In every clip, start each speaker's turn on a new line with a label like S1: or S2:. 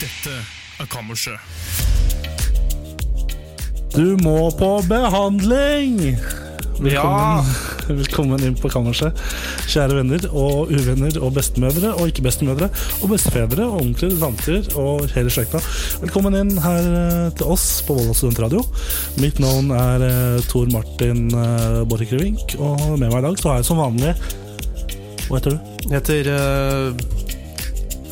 S1: Dette er Kammerset.
S2: Du må på behandling!
S1: Ja.
S2: Velkommen, velkommen inn på kammerset, kjære venner og uvenner og bestemødre og ikke-bestemødre og bestefedre og onkler og tanter og hele slekta. Velkommen inn her eh, til oss på Volda studentradio. Mitt navn er eh, Tor Martin eh, Borchgrevink, og med meg i dag så har jeg som vanlig Hva heter du?
S1: Jeg heter eh,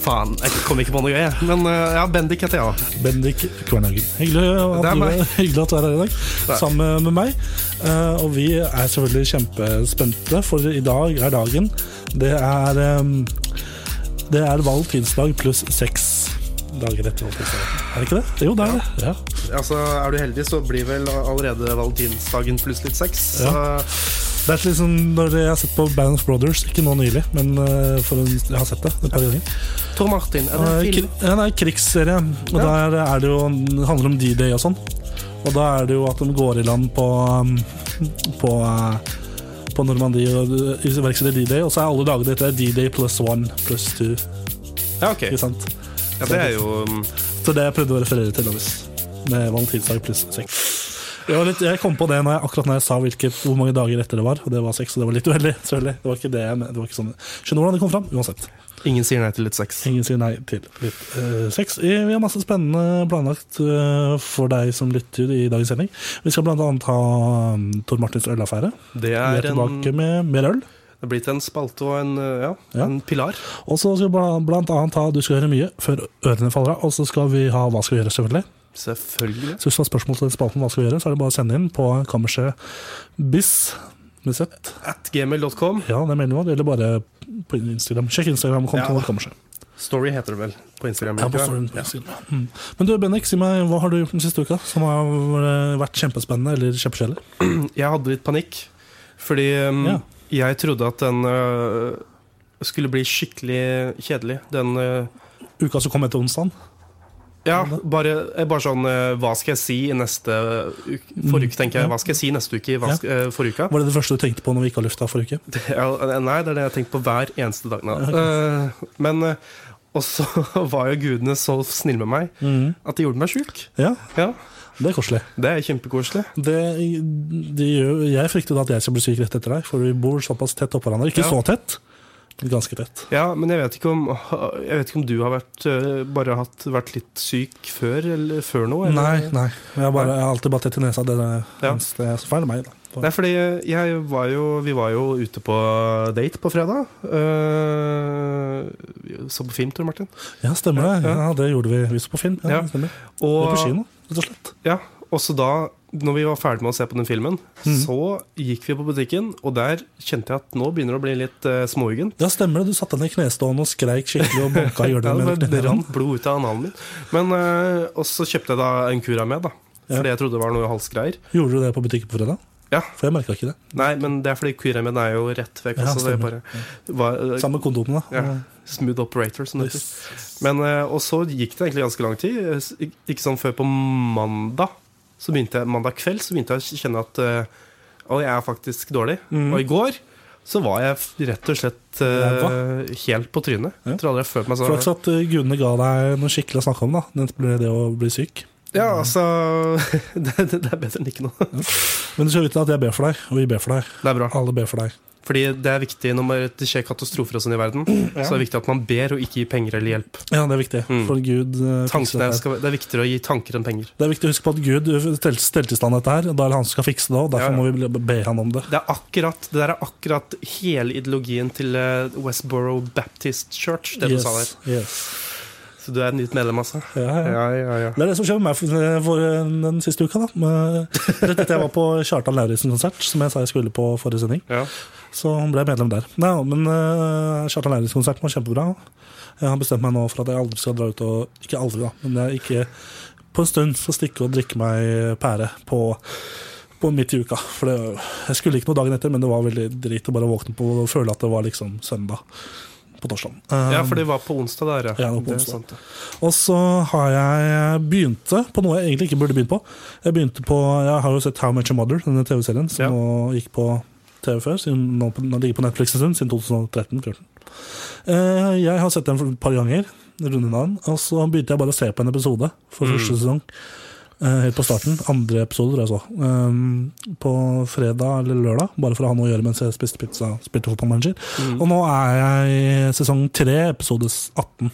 S1: Faen, jeg kom ikke på noe gøy, jeg. Men eh, ja, Bendik heter jeg, da.
S2: Bendik Kvernhagen. Hyggelig,
S1: Det er
S2: at du
S1: meg.
S2: er- hyggelig at du er her i dag,
S1: er-
S2: sammen med meg. Eh, og vi er selvfølgelig kjempespente, for i dag er dagen. Det er, um, det er valgtidsdag pluss seks dager etter valgtidsdag. Er det ikke det? Jo, det er det. Ja.
S1: Altså, Er du heldig, så blir vel allerede valentinsdagen pluss litt sex. Så
S2: Ja. Det er litt sånn når jeg har sett på Band of Brothers, ikke nå nylig, men eh, for en, jeg har sett det et par ganger.
S1: Tor Martin, er det
S2: Eh,
S1: en
S2: kri-
S1: film?
S2: Ja, det er en krigsserie, og
S1: Ja.
S2: der er det jo, det handler om D-Day og sånn. Og da er det jo at de går i land på, um, på, eh, på Normandie og iverksetter D-Day, og så er alle dagene etter D-Day pluss one pluss two.
S1: Ja, ok.
S2: Ikke sant?
S1: Ja, det er jo mm,
S2: Så det jeg prøvde å referere til, Lovis. Med valentinsdag pluss seks. Jeg, var litt, jeg kom på det når jeg, akkurat når jeg sa hvilket, hvor mange dager etter det var, og det var seks. Så det var litt uheldig. selvfølgelig. Det var ikke det jeg men- det var ikke sånn. Skjønner hvordan det kom fram, uansett.
S1: Ingen sier nei til litt sex.
S2: Ingen sier nei til litt eh, sex. Eh, Vi har masse spennende planlagt eh, for deg som lytter i dagens sending. Vi skal bl.a. ha um, Tor Martins ølaffære.
S1: Det
S2: Vi
S1: er
S2: er
S1: en,
S2: tilbake med mer øl.
S1: det blir til en spalte og en, eh, ja,
S2: Ja.
S1: en pilar.
S2: Og så skal vi bla- blant annet ha Du skal gjøre mye før ørene faller av. Og så skal vi ha Hva skal vi gjøre? selvfølgelig
S1: Selvfølgelig.
S2: Så hvis du har spørsmål til den spalten, hva skal vi gjøre, så er det bare å sende inn på kammerset bis med Z.
S1: At gmail.com.
S2: Ja, det er meldingen vår. Eller bare på Instagram. Sjekk
S1: Ja.
S2: Instagram-kontoen vår. Kammerset.
S1: Story heter det vel på Instagram.
S2: Ja,
S1: ikke
S2: på
S1: det?
S2: storyen på Instagram. Mm. Men du, Bendik, si meg, hva har du gjort den siste uka som har eh, vært kjempespennende eller kjempekjedelig?
S1: Jeg hadde litt panikk, fordi um,
S2: Ja.
S1: jeg trodde at den øh, skulle bli skikkelig kjedelig. Den øh,
S2: Uka som kom etter onsdagen?
S1: Ja, bare, eh, bare sånn øh, Hva skal jeg si i neste uke? Forrige uke, tenker jeg. Hva skal jeg si neste uke? i Hva
S2: Ja.
S1: skal, øh, forrige uke?
S2: Var det det første du tenkte på når vi ikke har lufta forrige uke?
S1: Ja, eh, nei, det er det jeg har tenkt på hver eneste dag. Nei. Eh, men øh, Og så var jo gudene så snille med meg at de gjorde meg sjuk.
S2: Ja,
S1: Ja,
S2: det er koselig.
S1: det er kjempekoselig.
S2: Det, det gjør, jeg fryktet at jeg skal bli syk rett etter deg, for vi bor såpass tett oppå hverandre. Ikke
S1: Ja.
S2: så tett, men ganske tett.
S1: Ja, men jeg vet ikke om, jeg vet ikke om du har vært, øh, bare hatt, vært litt syk før, eller, før nå? Eller?
S2: Nei, nei. Jeg har, bare, jeg har alltid bare tett i nesa. Det er det
S1: Ja.
S2: eneste som feiler meg. Da.
S1: Nei, fordi jeg var jo, vi var jo ute på date på fredag. Eh, så på film, Tor Martin.
S2: Ja, stemmer det.
S1: Ja,
S2: Ja,
S1: ja.
S2: Det gjorde vi. Vi så på film. Ja,
S1: Ja.
S2: stemmer. Vi var på
S1: Og,
S2: kino, rett og slett.
S1: ja, og så da, når vi var ferdig med å se på den filmen,
S2: Mhm.
S1: så gikk vi på butikken, og der kjente jeg at nå begynner det å bli litt uh, småuggen.
S2: Ja, stemmer det. Du satte deg ned i knestående og skreik skikkelig og banka i
S1: Ja,
S2: hjørnet.
S1: det
S2: med
S1: bare- det
S2: knærne.
S1: rant blod ut av analen min. Men, eh, og så kjøpte jeg da en kura med, da.
S2: Ja.
S1: Fordi jeg trodde det var noe halsgreier.
S2: Gjorde du det på butikken på fredag?
S1: Ja.
S2: For jeg merka ikke det.
S1: Nei, men det er fordi Kuramed er jo rett vekk.
S2: Ja,
S1: så det
S2: stemmer.
S1: bare var, eh,
S2: Samme kondomene.
S1: ja, smooth operator, som det heter. Men, eh, og så gikk det egentlig ganske lang tid. Eh, s- ik- Ikke sånn før på mandag så begynte jeg, Mandag kveld så begynte jeg å kjenne at eh, Å, jeg er faktisk dårlig.
S2: Mm.
S1: Og i går så var jeg f- rett og slett eh, helt på trynet.
S2: Ja.
S1: Jeg tror aldri jeg følte meg
S2: Flaks
S1: sånn.
S2: at eh, gudene ga deg noe skikkelig å snakke om, da. Det ble det å bli syk.
S1: Ja, altså det, det, det er bedre enn ikke noe.
S2: Men du skal vite at jeg ber for deg, og vi ber for deg.
S1: Det er bra.
S2: Alle ber for deg.
S1: Fordi det er viktig når det skjer katastrofer og sånn i verden, så er det viktig at man ber og ikke gir penger eller hjelp.
S2: Ja, det er viktig.
S1: Mm.
S2: For Gud eh, fikser
S1: Tankene
S2: dette her.
S1: skal, det er viktigere å gi tanker enn penger.
S2: Det er viktig å huske på at Gud stelte stelte i stand dette her. og Da er det han som skal fikse det, og derfor
S1: Ja, ja.
S2: må vi be- be han om det.
S1: Det er akkurat, det der er akkurat hele ideologien til eh, Westboro Baptist Church. Det du sa der.
S2: yes, yes.
S1: Så du er et nytt medlem, altså?
S2: Ja, ja.
S1: Ja, ja, ja.
S2: Det er det som skjer med meg for, for eh, den siste uka. da Med- Rett etter jeg var på Kjartan Lauritzen-konsert, som jeg sa jeg skulle på forrige sending,
S1: ja.
S2: Så han ble medlem der. Nei, ja, men uh, Kjartan Leiris-konserten var kjempebra. Jeg har bestemt meg nå for at jeg aldri skal dra ut og Ikke aldri, da, men jeg ikke på en stund skal stikke og drikke meg pære på, på midt i uka. For det, jeg skulle ikke noe dagen etter, men det var veldig drit å bare våkne på og føle at det var liksom søndag på torsdag.
S1: Ja, for det var på onsdag der,
S2: Um, Ja, det var på
S1: er
S2: onsdag.
S1: sant, det.
S2: Og så har jeg begynte på noe jeg egentlig ikke burde begynt på. Jeg begynte på, jeg har jo sett How Much A Mother, denne TV-serien som
S1: Ja.
S2: nå gikk på TV før. Siden, nå, nå ligger på Netflix en stund, siden 2013-2014. Eh, jeg har sett den for et par ganger, runden av den. Og så begynte jeg bare å se på en episode for første sesong. eh, helt på starten. Andre episode, tror jeg så. Eh, på fredag eller lørdag, bare for å ha noe å gjøre mens jeg spiste pizza. Spilte fotballmanager.
S1: Mm.
S2: Og nå er jeg i sesong tre, episode 18.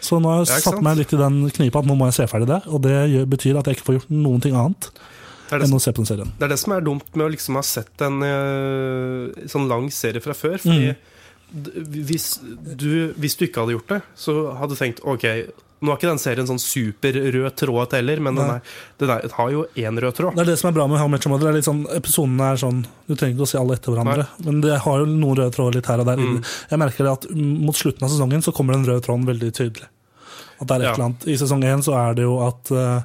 S2: Så nå har
S1: Ja,
S2: jeg
S1: ikke
S2: satt
S1: sant?
S2: meg litt i den knipa at nå må jeg se ferdig det. Og det gjør, betyr at jeg ikke får gjort noen ting annet
S1: Det er det,
S2: enn
S1: som,
S2: å se på den serien.
S1: det er det som er dumt med å liksom ha sett en eh, sånn lang serie fra før. Fordi
S2: Mm.
S1: d- hvis, du, hvis du ikke hadde gjort det, så hadde du tenkt OK, nå er ikke den serien sånn superrød tråd heller, men den,
S2: Nei.
S1: er, den er, har jo én rød tråd.
S2: Det er det som er bra med How Much Your Mother. Det er litt sånn, episodene er sånn Du trenger ikke å se alle etter hverandre, men det har jo noen røde tråder litt her og der. Jeg merker det at mm, mot slutten av sesongen så kommer den røde tråden veldig tydelig. At det er et
S1: Ja.
S2: eller annet. I sesong én så er det jo at, eh,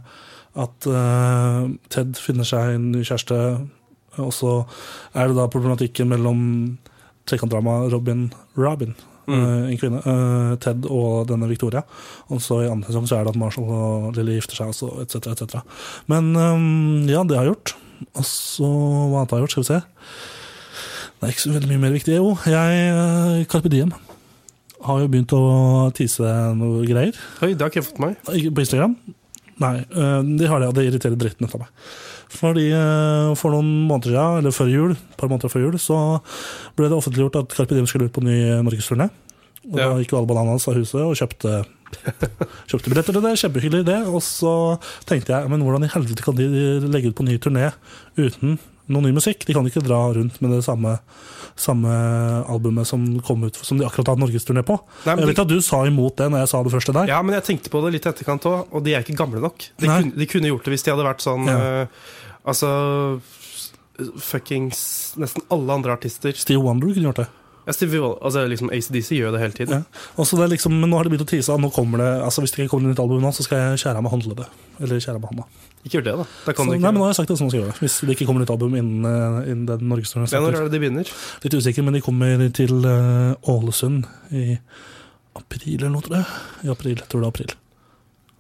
S2: at eh, Ted finner seg en ny kjæreste, og så er det da problematikken mellom trekantdramaet Robin Robin.
S1: Mm.
S2: eh, En kvinne. eh, Ted og denne Victoria. Og så i andre sesong så er det at Marshall og Lily gifter seg, og så et cetera, et cetera. Men ehm, ja, det har jeg gjort. Og så hva annet har jeg gjort? Skal vi se. Det er ikke så veldig mye mer viktig. Jo, jeg eh, Carpe Diem har jo begynt å tise noe greier.
S1: Oi, det har ikke jeg fått med meg.
S2: Ikke På Instagram? Nei, eh, de har det, og det irriterer dritten ut av meg. Fordi eh, For noen måneder siden, eller før jul, et par måneder før jul, så ble det offentliggjort at Carpe Diem skulle ut på ny norgesturné. Og
S1: Ja.
S2: da gikk jo alle bananas av huset og kjøpte, kjøpte billetter til det. Kjempehyggelig det. Og så tenkte jeg, men hvordan i helvete kan de legge ut på ny turné uten noe ny musikk? De kan ikke dra rundt med det samme, samme albumet som kom ut, som de akkurat har hatt norgesturné på.
S1: Nei,
S2: jeg
S1: men de-
S2: vet at du sa imot det når jeg sa det første der.
S1: Ja, men jeg tenkte på det litt i etterkant òg, og de er ikke gamle nok. De
S2: Nei.
S1: kunne, de kunne gjort det hvis de hadde vært sånn
S2: Ja.
S1: eh, Altså fuckings Nesten alle andre artister.
S2: Steve Wonder kunne gjort det.
S1: Ja, Stevie Wonder- altså liksom ACDC gjør jo det hele
S2: Ja.
S1: tiden.
S2: Og så det er liksom, men nå har de begynt å tease at nå kommer det altså Hvis det ikke kommer et nytt album nå, så skal jeg skjære av meg håndleddet. Eller skjære av meg hånda.
S1: Ikke gjør det, da. Da
S2: Så,
S1: kan du
S2: nei,
S1: ikke
S2: men nå har jeg sagt det, så nå skal jeg gjøre det. Hvis det ikke kommer nytt album innen, eh, innen den norgesturneen.
S1: Ja, Når
S2: starter.
S1: er det de begynner?
S2: Litt usikker, men de kommer til eh, Ålesund i april eller noe, tror jeg. I april, jeg tror det er april.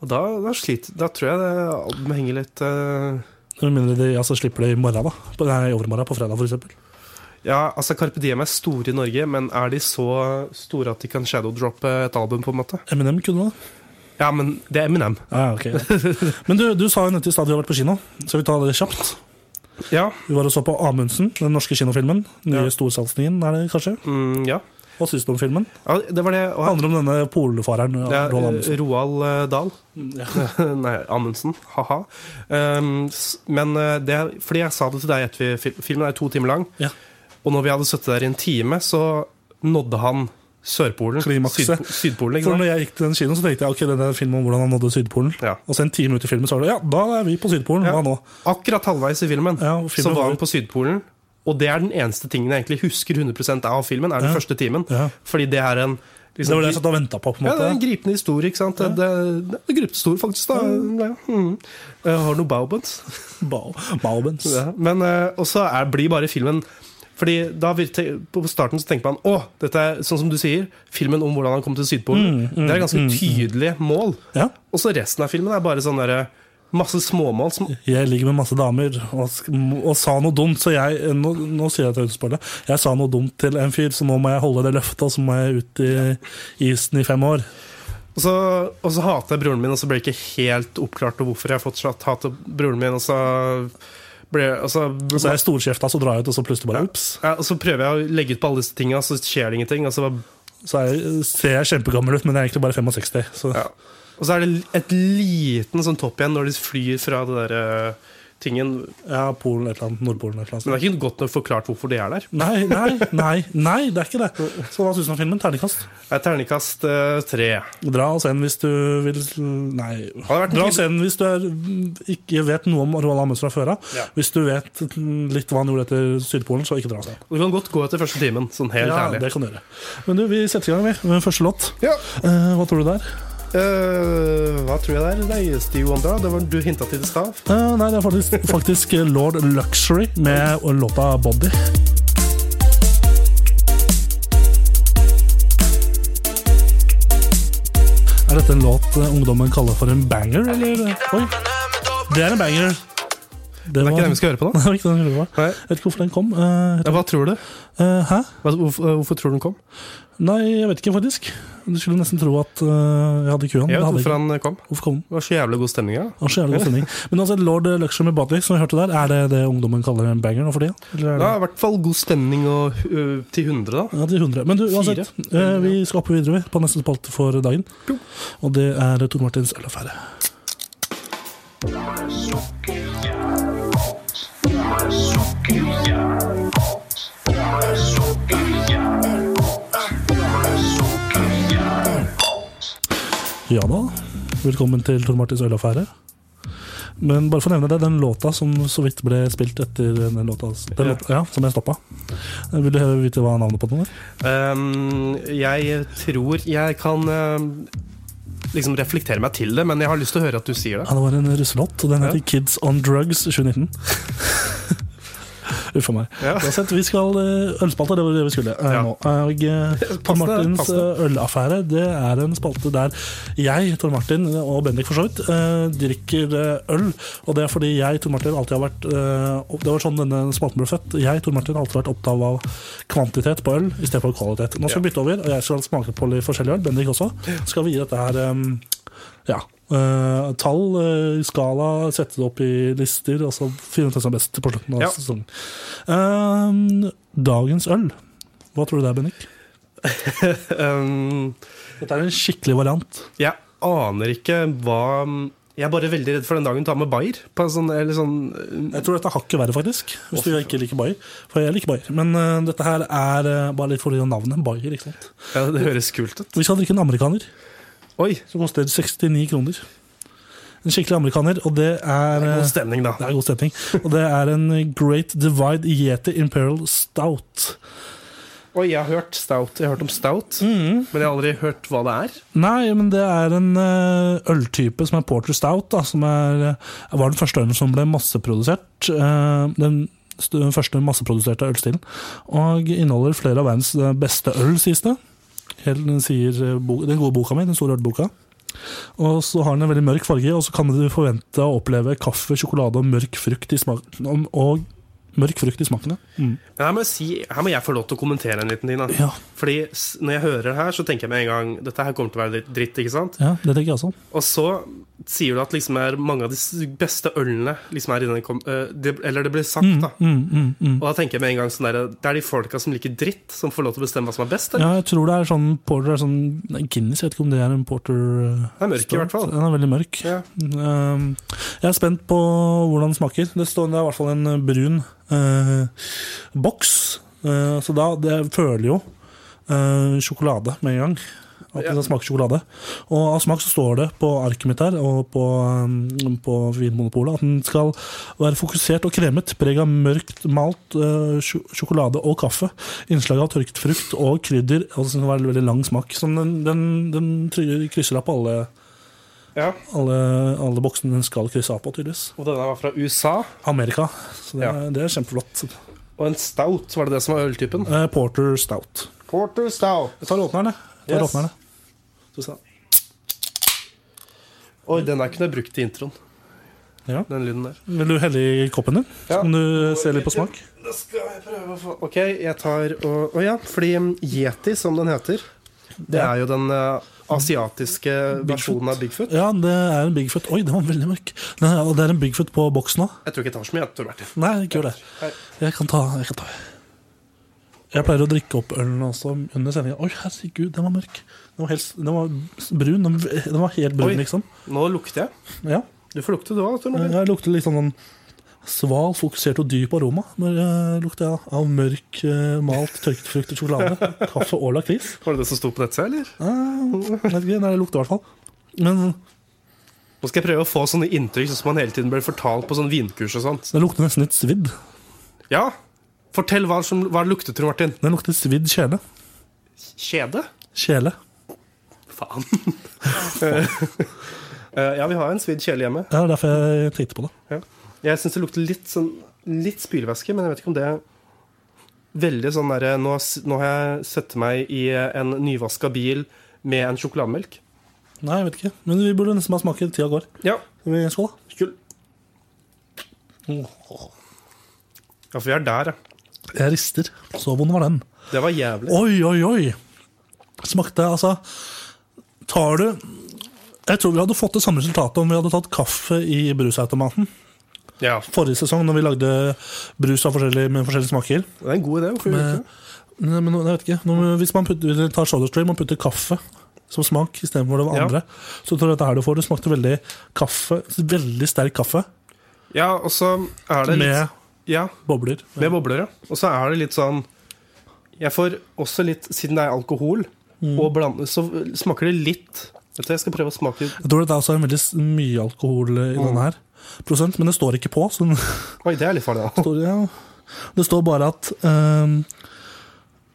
S1: Og da, da, sliter, da tror jeg det albumet henger litt eh,
S2: Med mindre de altså, slipper det i morgen, da. På, nei, i overmorgen, på fredag, for eksempel.
S1: Ja, altså Carpe Diem er store i Norge, men er de så store at de kan shadowdroppe et album, på en måte?
S2: Eminem kunne det.
S1: Ja, men det er Eminem.
S2: Ja, ok. ja. Men du, du sa jo nettopp i stad vi har vært på kino. Skal vi ta det kjapt?
S1: Ja.
S2: Vi var og så på Amundsen, den norske kinofilmen. Nye
S1: Ja.
S2: storsatsingen, er det kanskje?
S1: Mm, ja.
S2: Hva syns du om filmen?
S1: ja. Det var det.
S2: Det
S1: Og,
S2: handler om denne polfareren.
S1: det
S2: Ja,
S1: er
S2: Roald
S1: eh,
S2: Amundsen.
S1: Roald eh, Dahl. Nei, Amundsen. Ha-ha. Um, s- men eh, det er fordi jeg sa det til deg etter vi fil- Filmen er jo to timer lang.
S2: Ja.
S1: Og når vi hadde sittet der i en time, så nådde han Sørpolen.
S2: Klimakset.
S1: Sydpo- Sydpolen,
S2: For
S1: ikke sant?
S2: når jeg gikk til den kinoen, så tenkte jeg ok, denne filmen om hvordan han nådde Sydpolen.
S1: Ja.
S2: Og så en time ut i filmen så var det ja, da er vi på Sydpolen.
S1: Ja.
S2: Hva nå?
S1: Akkurat halvveis i filmen,
S2: Ja, og filmen
S1: så
S2: var
S1: var han
S2: ut.
S1: på Sydpolen. Og det er den eneste tingen jeg egentlig husker 100 av filmen, er den
S2: Ja.
S1: første timen.
S2: Ja.
S1: Fordi det er en
S2: Det
S1: liksom,
S2: var det jeg satt og venta på. på en
S1: ja, det
S2: måte.
S1: er en gripende historie, ikke sant? Det, det, det er gripestor, faktisk. da ja. mm. Jeg Har noe baubens.
S2: Ba- Baubens.
S1: Ja. Men eh, også er, blir bare filmen Fordi da vil te, På starten så tenker man Å, dette er sånn som du sier, filmen om hvordan han kom til
S2: Mm,
S1: Sydpolen. det er et ganske tydelig mål.
S2: Ja.
S1: Og så resten av filmen er bare sånn derre Masse småmål som
S2: Jeg ligger med masse damer og, sk- og sa noe dumt, så jeg Nå, nå sier jeg til Øystein Jeg sa noe dumt til en fyr, så nå må jeg holde det løftet, og så må jeg ut i isen i fem år.
S1: Og så, og så hater jeg broren min, og så ble det ikke helt oppklart hvorfor jeg fortsatt hater broren min. Og så, ble, og så,
S2: Og så er jeg storkjefta, så drar jeg ut, og så plutselig bare ups.
S1: ja, og så prøver jeg å legge ut på alle disse tinga, så skjer det ingenting. Og så, bare,
S2: Så er jeg, ser jeg kjempegammel ut, men jeg er egentlig bare 65. Så
S1: ja. og så er det et liten sånn topp igjen når de flyr fra det der eh, tingen.
S2: Ja, Polen et eller annet. Nordpolen et eller annet.
S1: Men det er ikke godt nok forklart hvorfor de er der.
S2: Nei, nei, nei, nei, det er ikke det. Så hva syns du om filmen? Terningkast.
S1: Det er terningkast eh, tre.
S2: Dra og se den hvis du vil Nei.
S1: Hadde vært
S2: Dra og
S1: tydelig-
S2: se den hvis du er, ikke vet noe om Roald Amundsen fra før av.
S1: Ja.
S2: Hvis du vet litt hva han gjorde etter Sydpolen, så ikke dra og se den.
S1: Du kan godt gå etter første timen, sånn helt
S2: Ja,
S1: ærlig.
S2: det kan du gjøre. Men du, vi setter i gang, vi. Med første låt.
S1: Ja.
S2: Eh, hva tror du det er?
S1: Eh, hva tror jeg det er? Nei, Steve Wonder, det var du hinta til i stad.
S2: Eh, nei, det er faktisk, faktisk Lord Luxury med låta Body. Er dette en låt eh, ungdommen kaller for en banger, eller? Oi, det er en banger.
S1: Det er ikke den vi skal høre på nå.
S2: Nei, det var ikke den vi hørte på.
S1: Nei.
S2: Jeg vet ikke hvorfor den kom. Eh,
S1: Ja, hva tror du?
S2: eh, hæ?
S1: Hva- Hvorfor, hvorfor tror du den kom?
S2: Nei, jeg vet ikke, faktisk. Du skulle nesten tro at eh, jeg hadde kua. men
S1: Jeg
S2: det hadde
S1: vet
S2: jeg
S1: hvorfor
S2: ikke.
S1: han kom.
S2: Hvorfor kom den?
S1: Det var så jævlig god stemning, ja.
S2: Det var så jævlig god stemning. Men altså, Lord Luxury med Body, som vi hørte der, er det det ungdommen kaller en banger nå for tida? Eller er det-
S1: Det er i hvert fall god stemning og, ø, til 100, da.
S2: Ja, til 100. Men du, uansett, eh, vi skal opp videre vi, på neste spalte for dagen.
S1: Jo.
S2: Og det er Tor Martins ølaffære. Ja da, velkommen til Tor Martins ølaffære. Men bare for å nevne det, den låta som så vidt ble spilt etter den låta, den
S1: Ja.
S2: låta ja, som jeg stoppa. Vil du vite hva navnet på den er?
S1: Ehm, jeg tror jeg kan ehm, liksom reflektere meg til det, men jeg har lyst til å høre at du sier det.
S2: Ja, det var en russelåt, og den heter
S1: Ja.
S2: Kids on Drugs 2019. Uff a meg.
S1: Ja.
S2: Uansett, vi skal eh, Ølspalte, det var det vi skulle eh,
S1: Ja.
S2: nå. Og eh, Tor
S1: Passende,
S2: Martins
S1: passende.
S2: eh, ølaffære det er en spalte der jeg, Tor Martin og Bendik for så vidt, eh, drikker eh, øl. Og det er fordi jeg, Tor Martin, alltid har vært eh, opp- Det var sånn denne spalten ble født. Jeg, Tor Martin, har alltid vært opptatt av kvantitet på øl istedenfor kvalitet. Nå skal vi bytte over, og jeg skal smake på litt forskjellig øl. Bendik også. Skal vi gi dette her eh, ja. eh, tall, eh, skala, sette det opp i lister, og så finne ut hvem som er best på slutten av
S1: Ja.
S2: sesongen. Ehm, dagens øl. Hva tror du det er, Bennik?
S1: Ehm,
S2: Dette er en skikkelig variant.
S1: jeg aner ikke hva Jeg er bare veldig redd for den dagen du har med Bayer. På en sånn, eller sånn,
S2: Jeg tror dette er hakket verre, faktisk. Hvis du ikke liker Bayer. For jeg liker Bayer. Men eh, dette her er eh, bare litt for navnet. Bayer, ikke sant.
S1: ja, det høres kult ut.
S2: Vi skal drikke en amerikaner
S1: Oi,
S2: som koster 69 kroner. En skikkelig amerikaner, og det er eh,
S1: god stemning, da.
S2: Det er god stemning. Og det er en Great Divide Yeti Imperial Stout.
S1: Oi, jeg har hørt stout. Jeg har hørt om stout,
S2: Mm.
S1: men jeg har aldri hørt hva det er.
S2: Nei, men det er en eh, øltype som er Porter Stout, da, som er, eh, var den første ølen som ble masseprodusert. eh, Den st- den første masseproduserte ølstilen. Og inneholder flere av verdens eh, beste øl, sies det. Helt, den sier eh, bo- den gode boka mi, den store ølboka. Og så har den en veldig mørk farge, og så kan du forvente å oppleve kaffe, sjokolade og mørk frukt i, smak om- og mørk frukt i smakene.
S1: Men her må, jeg si, her må jeg få lov til å kommentere en liten ting. da.
S2: Ja,
S1: Fordi s- når jeg hører det her, så tenker jeg med en gang dette her kommer til å være litt dritt. ikke sant?
S2: ja det tenker jeg også.
S1: Og så sier du at liksom er mange av de s- beste ølene liksom er i denne kom... eh, det, eller det blir sagt, da.
S2: Mm, mm, mm.
S1: Og da tenker jeg med en gang sånn der, Det er de folka som liker dritt, som får lov til å bestemme hva som er best. Eller?
S2: Ja, jeg tror det er sånn Porter er sånn nei, Guinness, jeg vet ikke om det er en Porter eh,
S1: Den er mørk i
S2: stout.
S1: hvert fall.
S2: Den er veldig mørk.
S1: Ja.
S2: Um, jeg er spent på hvordan den smaker. Det, står, det er i hvert fall en eh, brun eh, boks, Eh, så da det jeg føler jo eh, sjokolade med en gang. At
S1: Ja.
S2: det smaker sjokolade. Og av smak så står det på arket mitt her og på, um, på Vinmonopolet at den skal være fokusert og kremet, preg av mørkt malt eh, sjo- sjokolade og kaffe. Innslag av tørket frukt og krydder. Og så skal det være veldig lang smak. Så den, den, den try- krysser av på alle,
S1: Ja.
S2: alle, alle boksene den skal krysse av på, tydeligvis.
S1: Og denne var fra USA.
S2: Amerika. Så det,
S1: Ja.
S2: er- det er kjempeflott.
S1: Og en stout, var det det som var øltypen?
S2: Eh, Porter Stout.
S1: Porter stout.
S2: Jeg tar åpneren, jeg. jeg. Tar
S1: Yes.
S2: åpneren, jeg.
S1: Oi, den der kunne jeg brukt i introen.
S2: Ja.
S1: Den lyden der.
S2: Vil du helle i koppen din?
S1: Ja.
S2: Så kan du se litt på smak?
S1: Da skal jeg prøve å få Ok, jeg tar og Å ja, fordi um, Yeti, som den heter, det er jo den eh, asiatiske versjonen av Bigfoot.
S2: Ja, det er en Bigfoot. Oi, den var veldig mørk. Den er, og det er en Bigfoot på boksen òg.
S1: Jeg tror ikke jeg tar så mye, jeg, Tor Martin.
S2: Nei, ikke gjør det. Jeg kan ta. Jeg kan ta. Jeg pleier å drikke opp ølen også under sendinga. Oi, herregud, den var mørk. Den var, helt, den var brun. Den, den var helt brun,
S1: Oi.
S2: liksom.
S1: Nå lukter jeg.
S2: Ja.
S1: Du får lukte, du òg, Tor Martin.
S2: Jeg lukter litt sånn Sval, fokusert og dyp aroma når jeg lukter av- av mørk, eh, malt, tørket frukt og sjokolade. Kaffe og lakris.
S1: Var det det som sto på nettsida, eller?
S2: Jeg vet ikke, nei, det lukter i hvert fall. Men
S1: Nå skal jeg prøve å få sånne inntrykk sånn som man hele tiden ble fortalt på sånn vinkurs og sånt.
S2: den lukter nesten litt svidd.
S1: Ja, fortell hva, som, hva det luktet, Tor Martin.
S2: Den lukter svidd kjele.
S1: Kjede?
S2: Kjele.
S1: Faen. Eh, ja, vi har en svidd kjele hjemme.
S2: Ja, Det er derfor jeg tenkte på det.
S1: Ja. Jeg syns det lukter litt sånn Litt spylevæske, men jeg vet ikke om det er Veldig sånn derre nå, s- nå har jeg sett meg i en nyvaska bil med en sjokolademelk.
S2: Nei, jeg vet ikke. Men vi burde nesten bare smake. Tida går.
S1: Ja,
S2: Skal vi skåle?
S1: kul. Ja, for vi er der, ja.
S2: Jeg rister. Så vond var den.
S1: Det var jævlig.
S2: Oi, oi, oi! Smakte altså Tar du Jeg tror vi hadde fått det samme resultatet om vi hadde tatt kaffe i brusautomaten.
S1: Ja,
S2: Forrige sesong når vi lagde brus av forskjellige, med forskjellige smaker.
S1: Det er en god idé. Hvorfor gjør vi ikke
S2: Med,
S1: det?
S2: nei, men jeg vet ikke Nå- Hvis man putter, eller tar Soda Stream og putter kaffe som smak istedenfor det
S1: Ja.
S2: andre, så tror jeg dette her du får. Det smakte veldig kaffe. Veldig sterk kaffe
S1: Ja, og så er det litt
S2: med
S1: Ja,
S2: bobler.
S1: med bobler, ja. Og så er det litt sånn Jeg får også litt Siden det er alkohol,
S2: Mm.
S1: og blande, så smaker det litt Vet du, hva, jeg skal prøve å smake
S2: Jeg tror det er også en veldig s- mye alkohol i
S1: Mm.
S2: denne her, prosent, men det står ikke på. Så den
S1: Oi, det er litt farlig, da.
S2: står, ja. Det står bare at ehm,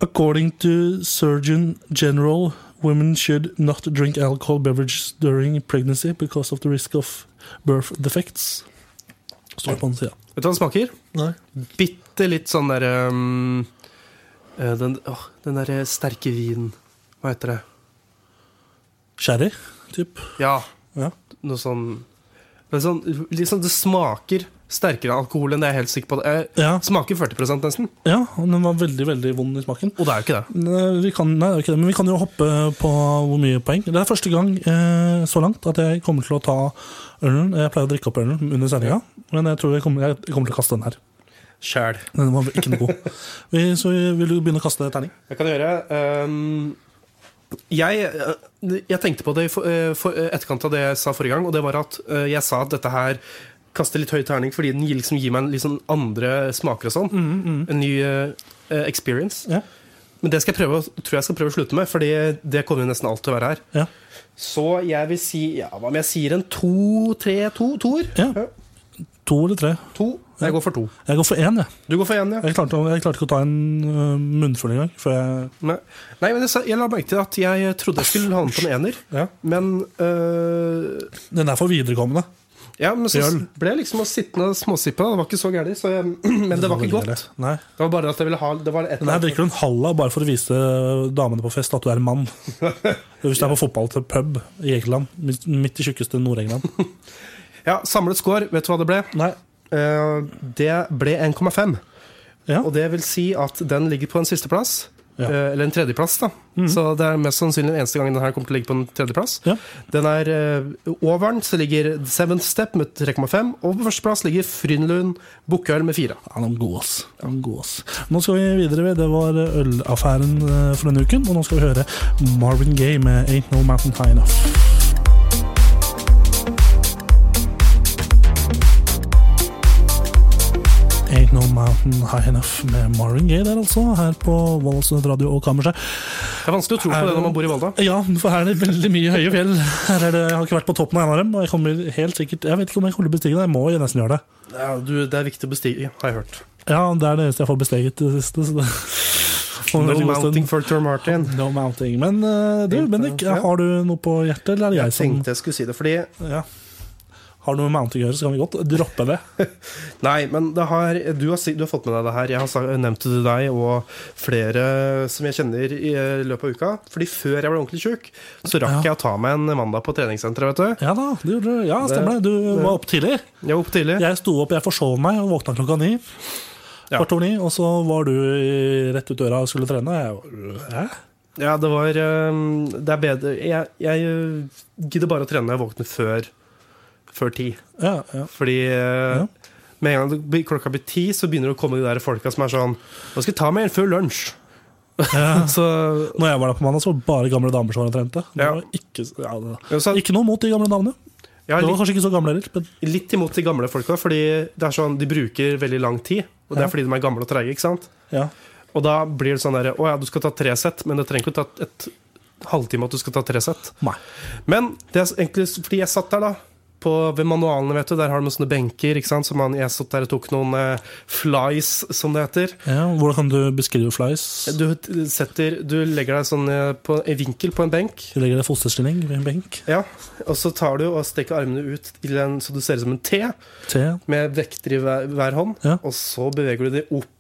S2: According to Surgeon General, women should not drink alcohol beverages during pregnancy because of the risk of birth defects. Står det på den sida.
S1: Vet du hva det smaker?
S2: Nei.
S1: Bitte litt sånn derre Den, åh, den derre sterke vinen. Hva heter det?
S2: Sherry, typ.
S1: Ja,
S2: Ja.
S1: noe sånn men sånn, liksom Det smaker sterkere alkohol enn det jeg er helt sikker på. Det er-
S2: Ja.
S1: smaker 40 nesten.
S2: ja, og den var veldig, veldig vond i smaken.
S1: Og det er jo ikke det.
S2: Nei, vi kan, nei, det er ikke det, men vi kan jo hoppe på hvor mye poeng. Det er første gang eh, så langt at jeg kommer til å ta ølen. Jeg pleier å drikke opp ølen under sendinga, men jeg tror jeg kommer, jeg kommer til å kaste den her.
S1: Sjæl.
S2: Den var ikke noe god. Vi, så vil du begynne å kaste terning?
S1: Jeg kan gjøre. ehm, jeg, eh, jeg tenkte på det i for, eh, for, eh, etterkant av det jeg sa forrige gang, og det var at eh, jeg sa at dette her kaster litt høy terning fordi den gir, liksom, gir meg en, liksom andre smaker og sånn. En ny eh, eh, experience.
S2: Ja.
S1: Men det skal jeg prøve, å- tror jeg skal prøve å slutte med, Fordi det kommer jo nesten alt til å være her.
S2: Ja.
S1: Så jeg vil si Ja, hva om jeg sier en to, tre, to? Toer?
S2: Ja. To eller tre?
S1: To. Jeg går for to.
S2: Jeg går for én, jeg.
S1: Du går for én, ja.
S2: Jeg klarte, jeg klarte ikke å ta en øh, munnfull engang. Før jeg
S1: Nei, Nei men jeg, sa- jeg la merke til at jeg trodde jeg skulle havne på en ener,
S2: Ja.
S1: men øh,
S2: Den er for viderekommende.
S1: Ja, men så
S2: Øl.
S1: ble jeg liksom å sittende og småsippe. da. Det var ikke så gærent. så jeg- Men det var ikke godt.
S2: Nei.
S1: Det var bare at jeg ville ha det var et
S2: Den her drikker du en halv av bare for å vise damene på fest at du er en mann. Hvis du er på fotball til pub i England, midt- midt i tjukkeste Nord-England.
S1: Ja, Samlet score, vet du hva det ble?
S2: Nei.
S1: Eh, det ble 1,5.
S2: Ja.
S1: Og det vil si at den ligger på en sisteplass.
S2: Ja. Mm.
S1: eh, Eller en tredjeplass, da. Så det er mest sannsynlig den eneste gangen den her kommer til å ligge på en tredjeplass.
S2: Ja.
S1: Den er eh, over den, så ligger Seventh Step med 3,5. Og på førsteplass ligger Frynlund Bukkøl med 4.
S2: Ja, den er god, ass. Den er god, ass. Nå skal vi videre. ved- Det var ølaffæren eh, for denne uken. Og nå skal vi høre Marvin Gaye med 'Ain't No Mountain High Enough'. Ain't No Mountain High Enough med Marvin Gaye der, altså. Her på Valsnes Radio og Kammerset.
S1: Det er vanskelig å tro på
S2: Er
S1: det
S2: det-
S1: når man bor i Volda.
S2: Ja, for her er det veldig mye høye fjell. Her er det, jeg har ikke vært på toppen av en av dem. Og jeg kommer helt sikkert Jeg vet ikke om jeg kommer til å bestige det. Jeg må jo nesten gjøre det.
S1: Ja, du, det er viktig å bestige, har jeg hørt.
S2: Ja, det er det eneste jeg får besteget i det siste. Så det får en
S1: No
S2: veldig god stund.
S1: mounting for Tor Martin.
S2: No mounting. Men eh, du, Bendik,
S1: Ja.
S2: har du noe på hjertet, eller er det jeg,
S1: Jeg tenkte jeg skulle si det, fordi
S2: som ja. Har du noe med mounting å gjøre, så kan vi godt droppe det.
S1: Nei, men det har, du, har, si- du har fått med deg det her. Jeg har sa- nevnt det til deg og flere som jeg kjenner i eh, løpet av uka. Fordi før jeg ble ordentlig tjukk, så rakk
S2: Ja.
S1: jeg å ta meg en mandag på treningssenteret, vet du.
S2: Ja da, det gjorde du. Ja, stemmer det. Du var oppe tidlig.
S1: Jeg var oppe tidlig.
S2: Jeg sto opp, jeg forsov meg og våkna klokka ni.
S1: Ja.
S2: Kvart over ni, og så var du i- rett ut døra og skulle trene. Jeg, var, hæ?
S1: Ja, det var eh, Det er bedre Jeg, jeg eh, gidder bare å trene når jeg våkner før, før ti.
S2: ja, ja.
S1: Fordi eh,
S2: Ja.
S1: med en gang det blir- klokka blir ti, så begynner det å komme de der folka som er sånn Nå skal jeg ta meg en før lunsj. så
S2: Når jeg var der på mandag, så var det bare gamle damer som var og trente. Det
S1: Ja.
S2: var ikke, ja, det,
S1: Ja, så-
S2: ikke noe mot de gamle damene.
S1: Ja,
S2: Du var
S1: litt,
S2: kanskje ikke så gammel heller, men
S1: litt imot de gamle folka, fordi det er sånn, de bruker veldig lang tid. Og det
S2: Ja.
S1: er fordi de er gamle og treige. ikke sant?
S2: ja.
S1: Og da blir det sånn derre Å ja, du skal ta tre sett, men det trenger ikke å ta et halvtime at du skal ta tre sett.
S2: Nei.
S1: Men det er egentlig s- fordi jeg satt der, da. På, ved manualene, vet du. Der har de sånne benker. ikke sant? Så man, jeg satt der og tok noen eh, flies, som det heter.
S2: Ja, hvordan kan du beskrive flies?
S1: Du, t- setter, du legger deg sånn eh, på en vinkel på en benk.
S2: Du legger deg i fosterstilling ved en benk.
S1: Ja, Og så tar du og strekker armene ut til en, så du ser ut som en T,
S2: T.
S1: med vekter i hver, hver hånd.
S2: Ja.
S1: Og så beveger du de opp.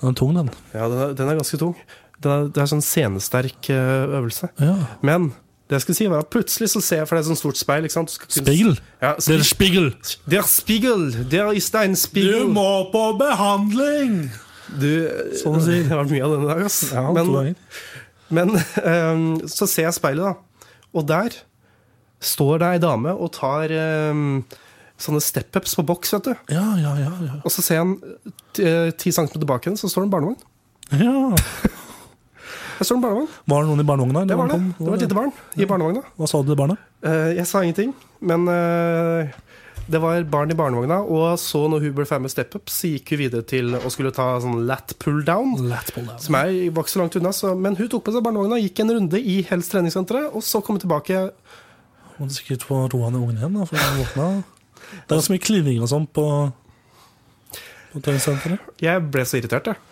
S2: Den er tung, den.
S1: Ja, den er, den er ganske tung. Den er, det er sånn scenesterk eh, øvelse.
S2: Ja.
S1: Men det jeg skulle si var at plutselig så ser jeg for deg et sånt stort speil. ikke sant? Du skal kunne-
S2: Spiegel.
S1: Ja,
S2: Det er
S1: spi-
S2: spiegel.
S1: der spiegel! Der ist ein spiegel!
S2: må på behandling!
S1: Du-
S2: Sånn å si.
S1: Det har vært mye av denne dag, ass.
S2: Ja, to
S1: men
S2: ganger.
S1: men ehm, så ser jeg speilet, da. Og der står det ei dame og tar ehm, sånne step-ups på boks, vet du.
S2: Ja, ja, ja. ja.
S1: Og så ser jeg en t- eh, ti centimeter bak henne, så står det en barnevogn.
S2: ja.
S1: Der står det en barnevogn.
S2: Var det noen i barnevogna? eller
S1: Det var
S2: når
S1: det.
S2: han kom?
S1: Det var et lite barn i barnevogna.
S2: Hva sa du til barna?
S1: Eh, Jeg sa ingenting, men eh, det var barn i barnevogna. Og så, når hun ble ferdig med step-up, så gikk hun videre til å skulle ta sånn lat pull-down. Som er, var ikke så langt unna, så, men hun tok på seg barnevogna, gikk en runde i Hells treningssenteret, og så kom hun tilbake.
S2: Må du sikkert få roa ned ungen igjen, da, for han våkna. Det er ganske mye klining og sånn på, på treningssenteret.
S1: Jeg ble så irritert, jeg.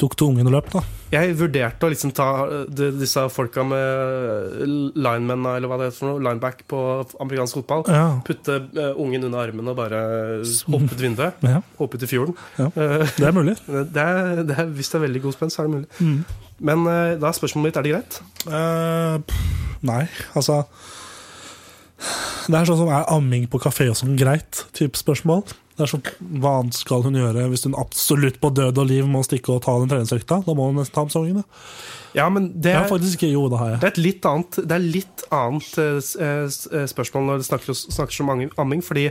S2: Tok du ungen og løp, da?
S1: Jeg vurderte å liksom ta eh, de, disse folka med linemennene, eller hva det heter for noe, lineback på amerikansk fotball.
S2: Ja.
S1: Putte eh, ungen under armen og bare hoppe ut vinduet.
S2: ja.
S1: Hoppe ut i fjorden.
S2: Ja.
S1: Eh,
S2: Det er mulig.
S1: Det er, det er, hvis det er veldig god spenn, så er det mulig.
S2: Mm.
S1: Men eh, da er spørsmålet mitt er det greit.
S2: Eh, pff, nei, altså Det er sånn som er amming på kafé og sånn greit type spørsmål. Det er sånn, Hva annet skal hun gjøre hvis hun absolutt på død og liv må stikke og ta den treningsøkta? Da må hun nesten ta med seg ungene.
S1: Ja, men det
S2: Jeg har
S1: er,
S2: faktisk ikke Jo, det har jeg.
S1: det er et litt annet, det er litt annet eh, s- eh, s- eh, spørsmål når det snakker, snakker om ang- amming, fordi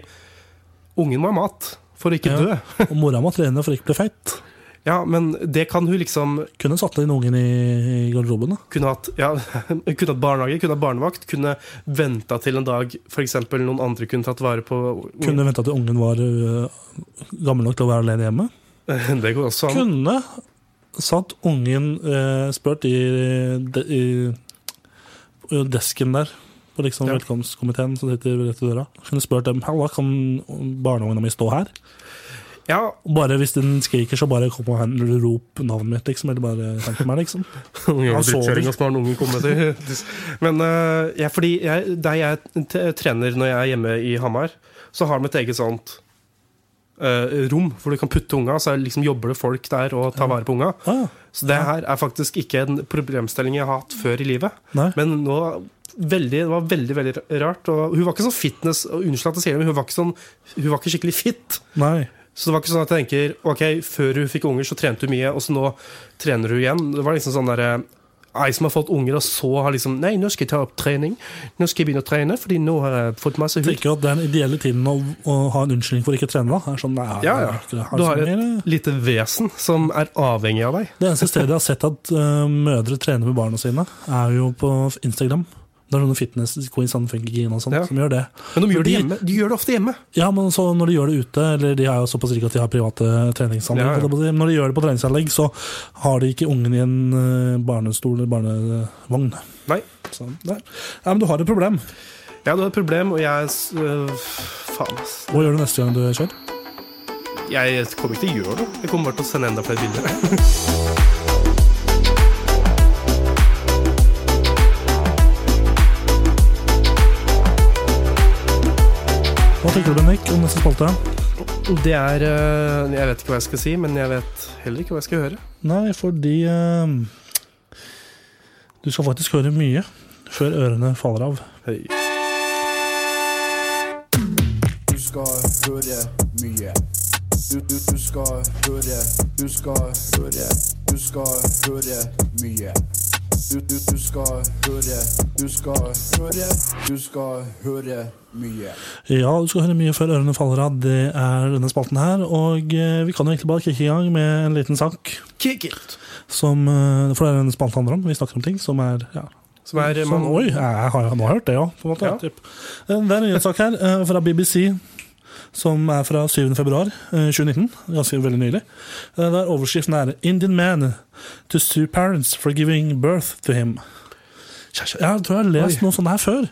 S1: ungen må ha mat for å ikke
S2: Ja.
S1: dø.
S2: Og mora må trene for ikke å bli feit.
S1: Ja, men det kan hun liksom
S2: Kunne satt inn ungen i, i garderoben, da.
S1: kunne hatt, ja, kunne hatt barnehage, kunne hatt barnevakt, kunne venta til en dag f.eks. noen andre kunne tatt vare på
S2: Kunne venta til ungen var øh, gammel nok til å være alene hjemme.
S1: Det går også an.
S2: Kunne satt ungen eh, spurt i, de, i på desken der på liksom
S1: Ja.
S2: velkomstkomiteen som sitter rett ved døra. Kunne spurt dem hva kan barneungene mine stå her.
S1: Ja,
S2: Og bare hvis den skriker, så bare kom og hen- rop navnet mitt, liksom. Eller bare hent meg, liksom.
S1: Han
S2: sover.
S1: drittkjøringa som har en unge komme til. Men eh, ja, fordi jeg, der jeg t- trener når jeg er hjemme i Hamar, så har de et eget sånt eh, rom hvor du kan putte unga. Så er det liksom jobber det folk der og tar vare på unga.
S2: Ah,
S1: Så det her er faktisk ikke en problemstilling jeg har hatt før i livet.
S2: nei.
S1: Men nå veldig, Det var veldig veldig rart. Og hun var ikke sånn fitness og Unnskyld at jeg sier det, men hun var ikke, sånn, hun var ikke skikkelig fit.
S2: nei.
S1: Så det var ikke sånn at jeg tenker Ok, før hun fikk unger, så trente hun mye, og så nå trener hun igjen. Det var liksom sånn derre Ei som har fått unger, og så har liksom Nei, nå skal jeg ta opp trening. Nå skal jeg begynne å trene, fordi nå har jeg fått masse
S2: Jeg
S1: hud.
S2: tenker jo at Den ideelle tiden å, å ha en unnskyldning for ikke å trene, da, er sånn nei,
S1: Ja, ja.
S2: jeg har ikke-
S1: Du har
S2: jeg har ikke
S1: et
S2: mer, eh.
S1: lite vesen som er avhengig av deg.
S2: Det eneste stedet jeg har sett at eh, mødre trener med barna sine, er jo på Instagram. Det er noen fitness queens and funky queen og sånt,
S1: Ja.
S2: som gjør det.
S1: Men de gjør det
S2: de-
S1: hjemme. De gjør det ofte hjemme.
S2: Ja, men så når de gjør det ute, eller de er jo såpass rike at de har private treningsanlegg,
S1: Ja, ja.
S2: holdt jeg på å si, men når de gjør det på treningsanlegg, så har de ikke ungen i en eh, barnestol eller barnevogn.
S1: Nei.
S2: Så, der. Ja, men du har et problem.
S1: Jeg hadde et problem, og jeg s- øh, Faen, ass.
S2: Hva gjør du neste gang du kjører?
S1: Jeg kommer ikke til å gjøre det. Jeg kommer bare til å sende enda flere bilder.
S2: Hva tenker du, Bendik, om neste spalte?
S1: Det er øh, Jeg vet ikke hva jeg skal si, men jeg vet heller ikke hva jeg skal høre.
S2: Nei, fordi eh, du skal faktisk høre mye før ørene faller av.
S1: Hei.
S3: Du skal høre mye. Du, du, du skal høre, du skal høre, du skal høre mye. Du, du, du skal høre, du skal høre, du skal høre mye.
S2: Ja, du skal høre mye før ørene faller av. Det er denne spalten her. Og eh, vi kan jo egentlig bare kicke i gang med en liten sak.
S1: Kick it!
S2: Som, eh, for det er denne spalten handler om. Vi snakker om ting som er ja,
S1: Som er
S2: Sånn,
S1: man-
S2: oi, jeg har jo nå hørt det òg, på en måte.
S1: Ja.
S2: Typ. Eh, Det er en nyhetssak her eh, fra BBC. Som er fra 7. februar eh, 2019. Ganske veldig nylig. Eh, Der overskriften er 'Indian man to sue parents for giving birth to him'. Tja, tja, Jeg tror jeg har lest
S1: Oi.
S2: noe sånt her før.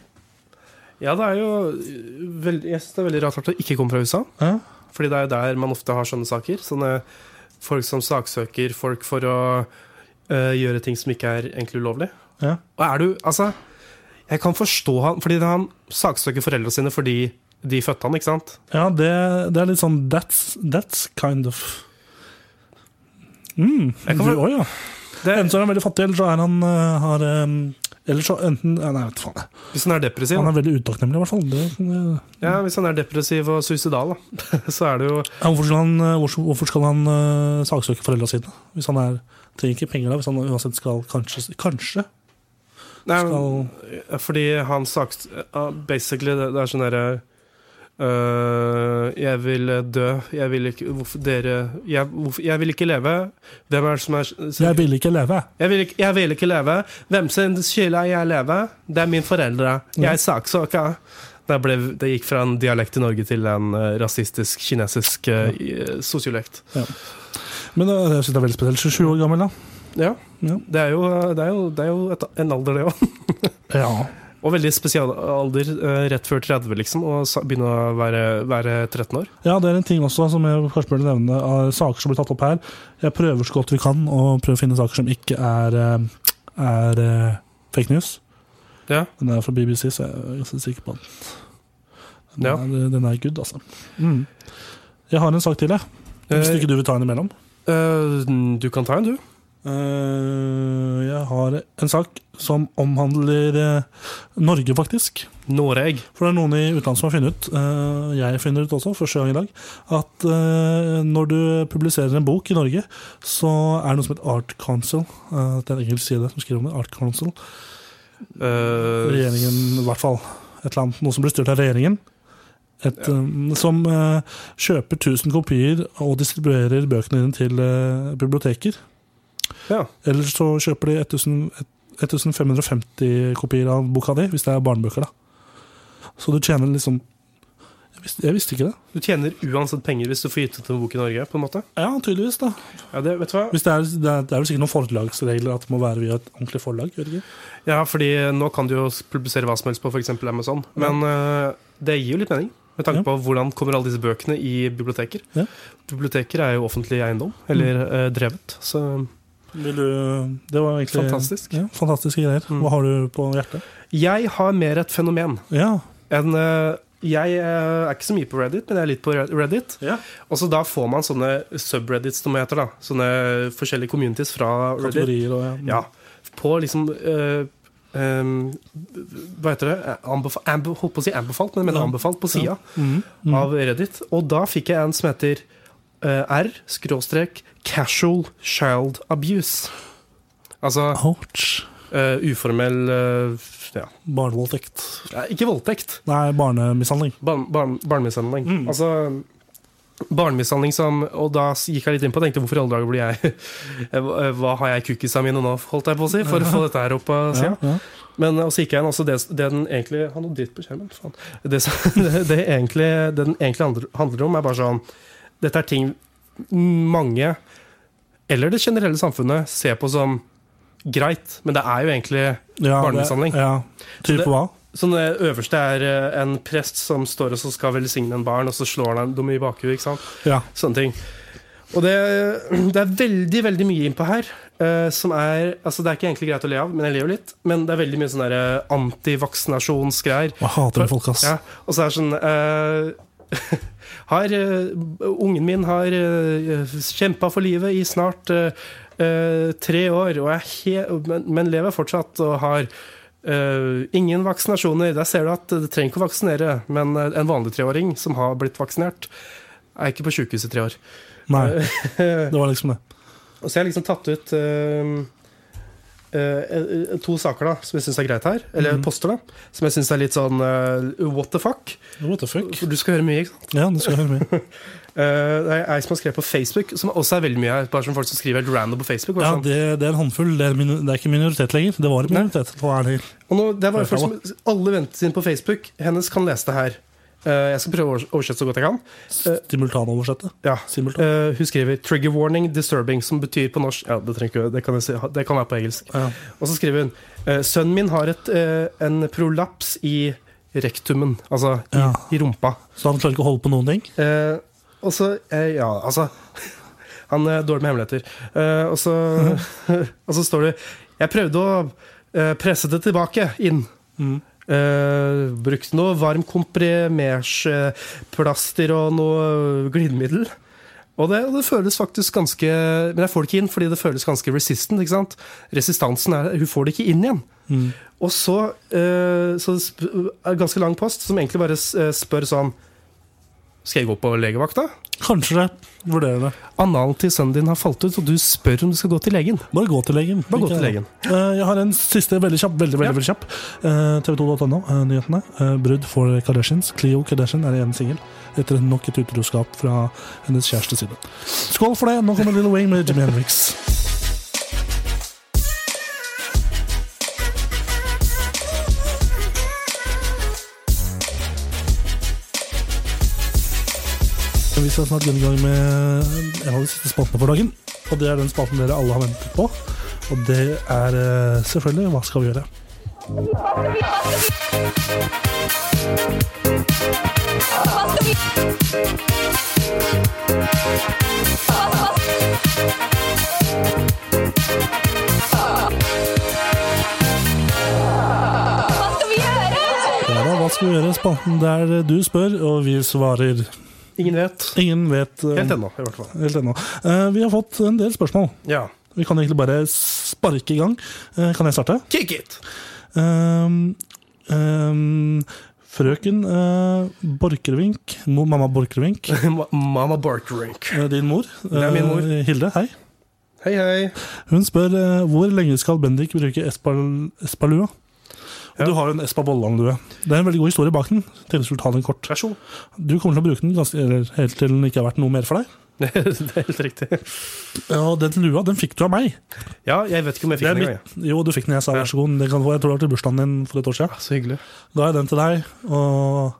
S1: Ja, det er jo øh, veldig, Jeg syns det er veldig rart at det ikke kommer fra USA.
S2: Ja.
S1: Fordi det er jo der man ofte har sånne saker. Sånne folk som saksøker folk for å øh, gjøre ting som ikke er egentlig ulovlig.
S2: Ja.
S1: Og er du Altså, jeg kan forstå han Fordi han saksøker foreldrene sine fordi de fødte han, ikke sant?
S2: Ja, det, det er litt sånn That's, that's kind of mm,
S1: Jeg
S2: du
S1: kan vel-
S2: også, ja.
S1: Det,
S2: Enten så er han veldig fattig, eller så er han eh, har, eh, Eller så enten ja, Nei, vet du faen. jeg.
S1: hvis han er depressiv,
S2: Han
S1: da.
S2: er veldig utakknemlig, i hvert fall. Det, eh,
S1: ja, hvis han er depressiv og suicidal, da, så er det jo
S2: ja, hvorfor skal han, eh, hvorfor, hvorfor skal han eh, saksøke foreldra sine? Hvis han er trenger ikke penger da, hvis han uansett skal kanskje, kanskje
S1: Nei, men-
S2: skal,
S1: Eh, Fordi han saks... ja, Basically, det, det er sånn derre øh, Jeg vil dø. Jeg vil ikke Hvorfor dere jeg, hvorfor, jeg vil ikke leve. Hvem er det som er
S2: Jeg vil ikke leve.
S1: jeg vil, ikke, jeg vil ikke leve. Hvem sin skyld er jeg leve? Det er mine foreldre.
S2: Ja.
S1: Jeg saksøka. Det, ble, det gikk fra en dialekt i Norge til en eh, rasistisk kinesisk uh, sosiolekt.
S2: Men eh, jeg synes det er veldig spesielt. 27 år gammel, da.
S1: Ja.
S2: Ja.
S1: Det er jo, eh, det er jo, det er jo et, en alder, det òg.
S2: Ja.
S1: Og veldig spesial alder, eh, rett før 30, liksom, og sa- begynne å være, være 13 år.
S2: Ja, det er en ting også som jeg kanskje burde nevne, av saker som blir tatt opp her. Jeg prøver så godt vi kan å prøve å finne saker som ikke er, eh, er eh, fake news.
S1: Ja.
S2: Den er fra BBC, så jeg er ganske sikker på den. Den,
S1: Ja.
S2: er, den er good, altså. Mm. Jeg har en sak til, jeg. Hvis ikke du vil ta en imellom.
S1: Eh, du kan ta en, du.
S2: Eh, jeg har en sak som omhandler eh, Norge, faktisk.
S1: Noreg.
S2: For det er noen i utlandet som har funnet ut, eh, jeg finner ut også, første gang i dag, at eh, når du publiserer en bok i Norge, så er det noe som heter Art Council. eh, det er en engelsk side som skriver om det. Art Council.
S1: Eh,
S2: Regjeringen, i hvert fall. Et eller annet, noe som blir styrt av regjeringen. Et, eh, som eh, kjøper 1000 kopier og distribuerer bøkene dine til eh, biblioteker.
S1: ja.
S2: Eller så kjøper de 1000 et- 1550 kopier av boka di, hvis det er barnebøker, da. Så du tjener liksom Jeg visste, jeg visste ikke det.
S1: Du tjener uansett penger hvis du får gitt ut en bok i Norge. på en måte.
S2: Ja, tydeligvis, da.
S1: Ja, det, vet du hva?
S2: Hvis det, er, det, er, det er vel sikkert noen forlagsregler at det må være via et ordentlig forlag? gjør det ikke?
S1: Ja, fordi nå kan du jo publisere hva som helst på f.eks. Amazon. Men eh, det gir jo litt mening. Med tanke
S2: Ja.
S1: på hvordan kommer alle disse bøkene i biblioteker.
S2: Ja.
S1: Biblioteker er jo offentlig eiendom, eller eh, drevet. Så
S2: Vil du, det var egentlig
S1: Fantastisk.
S2: Ja, fantastiske greier.
S1: Mm.
S2: Hva har du på hjertet?
S1: jeg har mer et fenomen.
S2: Ja.
S1: En, eh, jeg eh, er ikke så mye på Reddit, men jeg er litt på Re- Reddit. Og så da får man sånne subreddits, som det heter. da Sånne forskjellige communities fra Reddit.
S2: Kategorier og ja.
S1: Ja, på liksom eh, eh, Hva heter det? Anbef anbe holdt på å si anbefalt, men jeg mener
S2: Ja.
S1: anbefalt på sida
S2: Mm. Mm.
S1: av Reddit. Og da fikk jeg en som heter eh, R skråstrek casual child abuse. Altså
S2: Ouch.
S1: eh, uformell eh, ja.
S2: Barnevoldtekt.
S1: ja, ikke voldtekt.
S2: Nei, barnemishandling.
S1: Barn, barn, barnemishandling.
S2: Mm.
S1: Altså Barnemishandling som Og da gikk jeg litt inn på og tenkte hvorfor i alle dager blir jeg eh, Hva har jeg i kukkisa mine nå, holdt jeg på å si, for å få dette her opp av sida?
S2: ja.
S1: Men og så gikk jeg inn, altså det, det den egentlig Han hadde dritt på skjermen, faen. Det, som- det, det, egentlig, det den egentlig handler, handler om, er bare sånn Dette er ting mange, eller det generelle samfunnet, ser på som greit, men det er jo egentlig
S2: Ja,
S1: Barnemishandling.
S2: det- Ja. Type
S1: det-
S2: hva?
S1: Sånn det øverste er eh, en prest som står og så skal velsigne en barn, og så slår han dem i bakhuet, ikke sant?
S2: Ja.
S1: Sånne ting. Og det, det er veldig veldig mye innpå her eh, som er altså Det er ikke egentlig greit å le av, men jeg ler jo litt. Men det er veldig mye sånn der, eh, antivaksinasjonsgreier.
S2: Jeg hater det folk, ass.
S1: Ja, og så er det sånn eh, Har eh, Ungen min har uh, kjempa for livet i snart eh, eh, tre år, og er he men, men lever fortsatt og har eh, ingen vaksinasjoner. Der ser du at du trenger ikke å vaksinere, men eh, en vanlig treåring som har blitt vaksinert, er ikke på sjukehus i tre år.
S2: Nei, det var liksom det.
S1: Og så har jeg liksom tatt ut eh, eh, eh, to saker da som jeg syns er greit her. Eller poster, da. Som jeg syns er litt sånn eh, what the fuck.
S2: What the fuck?
S1: For du skal høre mye, ikke sant?
S2: Ja, nå skal jeg høre med.
S1: Eh, det er ei som har skrevet på Facebook, som også er veldig mye her. Bare som folk som skriver helt random på Facebook. bare
S2: Ja,
S1: sånn.
S2: det, det er en håndfull. Det er, mino- det er ikke minoritet lenger. Det var en minoritet. Nå er det
S1: Og nå, det er bare folk som, Alle venter sin på Facebook. Hennes kan lese det her. Eh, jeg skal prøve å overs- oversette så godt jeg kan.
S2: simultanoversettet.
S1: Ja.
S2: Simultan.
S1: Eh, hun skriver 'trigger warning disturbing', som betyr på norsk Ja, det, trenger ikke, det, kan, jeg si, det kan være på engelsk.
S2: Ja.
S1: Og så skriver hun eh, 'sønnen min har et, eh, en prolaps i rektumen', altså i,
S2: Ja.
S1: i rumpa.
S2: Så han klarer ikke å holde på noen ting.
S1: Eh, og så eh, Ja, altså Han er dårlig med hemmeligheter. Eh, og, så, og så står det Jeg prøvde å eh, presse det tilbake inn. Mm. Eh, brukte noe varm komprimersplaster og noe glidemiddel. Og det, og det føles faktisk ganske Men jeg får det ikke inn fordi det føles ganske resistant. ikke sant? Resistansen er Hun får det ikke inn igjen.
S2: Mm.
S1: Og så, eh, så sp er det ganske lang post som egentlig bare s- eh, spør sånn skal jeg gå på legevakta?
S2: Kanskje det. Vurderer det.
S1: Analen til sønnen din har falt ut, og du spør om du skal gå til legen.
S2: Bare gå til legen.
S1: Bare gå
S2: Ikke-
S1: til legen.
S2: Eh, Jeg har en siste veldig kjapp. veldig, veldig,
S1: Ja.
S2: veldig kjapp. TV2.no, eh, nyhetene. Eh, Brudd for Kardashians. Cleo Kardashian er igjen singel etter nok et utroskap fra hennes kjæreste side. Skål for det! Nå kommer Little Wayne med Jimmy Henriks. Vi skal snart denne gang med en av de siste spaltene for dagen. Og det er den spalten dere alle har ventet på. Og det er eh, selvfølgelig Hva skal vi gjøre?
S4: Hva skal vi gjøre?
S2: Ja, da, hva skal vi gjøre? Spalten der du spør, og vi svarer.
S1: Ingen vet.
S2: Ingen vet eh,
S1: Helt ennå, i hvert fall.
S2: helt ennå. Eh, vi har fått en del spørsmål.
S1: Ja.
S2: Vi kan egentlig bare sparke i gang. Eh, kan jeg starte?
S1: Kick it!
S2: Ehm, ehm, frøken eh, Borchgrevink, mo- mamma Borchgrevink,
S1: Ma- Mama Barkerink.
S2: eh, din mor,
S1: er min mor.
S2: eh, Hilde, hei.
S1: Hei, hei.
S2: Hun spør eh, hvor lenge skal Bendik bruke espal espalua? Og
S1: Ja.
S2: Du har jo en Espa Bolland-lue. Det er en veldig god historie bak den. Til du skulle ta den kort.
S1: Vær så god.
S2: Du kommer til å bruke den ganske, eller, helt til den ikke har vært noe mer for deg.
S1: Det er helt riktig.
S2: Og den lua den fikk du av meg.
S1: Ja, jeg vet ikke om jeg
S2: Det
S1: fikk
S2: er
S1: den engang.
S2: mitt, jo, du fikk den jeg sa vær så god. Den kan du få. Jeg tror det var til bursdagen din for et år siden.
S1: jeg. Ah, Så hyggelig.
S2: Da har jeg den til deg, og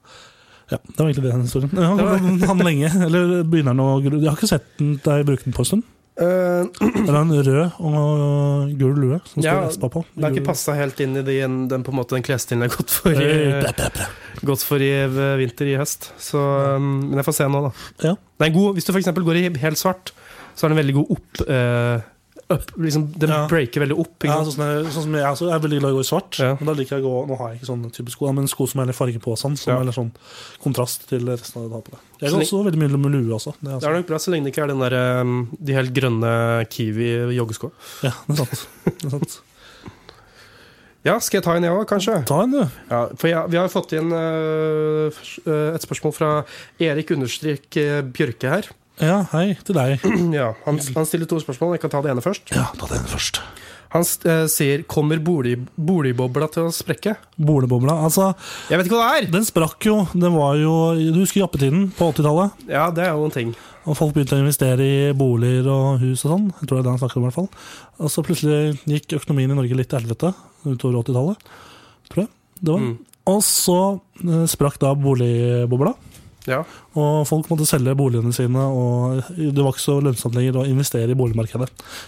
S2: ja, det var egentlig det den historien. Ja, han, han lenge, eller begynner han å gru- Jeg har ikke sett den deg bruke den på en stund.
S1: Eh,
S2: Det er en rød og gul lue som står
S1: Ja,
S2: Espa på.
S1: det har ikke passa helt inn i den, den, på en måte, den klesstilen jeg har gått for
S2: Hey,
S1: i, eh,
S2: bra, bra, bra.
S1: gått for i eh, vinter i høst. Så, eh, men jeg får se nå, da.
S2: Ja.
S1: Det er en god, hvis du for eksempel går i helt svart, så er den veldig god opp. eh, opp liksom, den
S2: Ja.
S1: breaker veldig opp. Ikke
S2: Ja,
S1: sant?
S2: sånn, som jeg- sånn som jeg, altså, jeg er veldig glad i å gå i svart.
S1: Ja.
S2: Men da liker jeg å gå, Nå har jeg ikke sånne type sko, da, men sko som er litt farge på, og sånn, som
S1: Ja.
S2: er litt sånn kontrast til resten av det du har på deg. Jeg
S1: Så
S2: går også veldig mye med lue også. Det er,
S1: Det er
S2: altså,
S1: nok bra så lenge det ikke er den der, ehm, de helt grønne Kiwi-joggeskoa.
S2: ja, det er sant. Det er sant.
S1: Ja, skal jeg ta en jeg òg, kanskje?
S2: Ta en, du.
S1: Ja, for jeg, Vi har fått inn øh, f- øh, et spørsmål fra Erik understrek øh, Bjørke her.
S2: Ja, hei til deg.
S1: Ja, han, han stiller to spørsmål. Jeg kan ta det ene først.
S2: Ja, ta den først.
S1: Han øh, sier 'Kommer bolig, boligbobla til å sprekke'?
S2: Bolebobla. Altså,
S1: Jeg vet ikke hva det er!
S2: Den sprakk jo. Den var jo du husker jappetiden på 80-tallet?
S1: Ja, det er jo en ting.
S2: Og folk begynte å investere i boliger og hus og sånn. Jeg tror det er det han snakker om i hvert fall. Og så plutselig gikk økonomien i Norge litt til helvete utover 80-tallet. Tror jeg. Det var.
S1: Mm.
S2: Og så eh, sprakk da boligbobla.
S1: Ja.
S2: Og folk måtte selge boligene sine, og det var ikke så lønnsomt lenger å investere i boligmarkedet.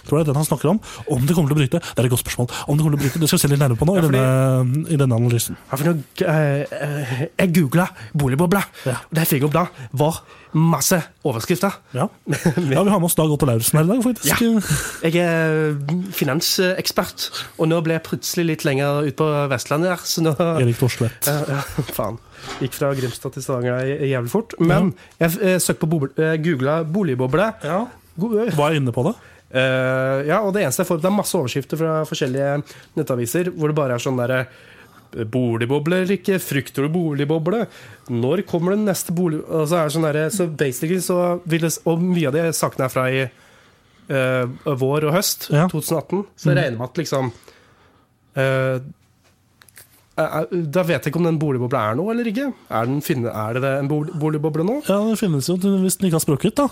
S2: Tror jeg det er den han snakker om. Om det kommer til å bryte, det er et godt spørsmål. Om Det kommer til å bryte, det skal vi se litt nærmere på nå
S1: Ja,
S2: i, denne, i denne analysen.
S1: Ja, for nå, eh, eh, jeg googla 'boligbobla'.
S2: Ja.
S1: Det jeg fikk opp da, var masse overskrifter.
S2: Ja. ja, Vi har med oss Dag Otto Lauritzen her i dag, faktisk.
S1: Jeg er finansekspert, og nå ble jeg plutselig litt lenger ut på Vestlandet der, så nå
S2: Erik Thorstvedt.
S1: ja, ja, faen. Gikk fra Grimstad til Stavanger der jævlig fort. Men jeg, eh, søkte på boble, eh, googla boligboble.
S2: Ja.
S1: Go- eh,
S2: Var jeg inne på det?
S1: ja, og det eneste jeg får opp, det er masse overskrifter fra forskjellige nettaviser hvor det bare er sånn derre Boligboble eller ikke? Frykter du boligboble? Når kommer den neste bolig... Altså er det sånn derre- så basically så vil det, Og mye av de sakene er fra i eh, vår og høst
S2: Ja.
S1: 2018, så regner jeg med at liksom eh, er- er- Da vet jeg ikke om den boligbobla er noe eller ikke. Er, den, finne, er det en bol- boligboble nå?
S2: Ja, det finnes jo hvis den ikke har sprukket, da.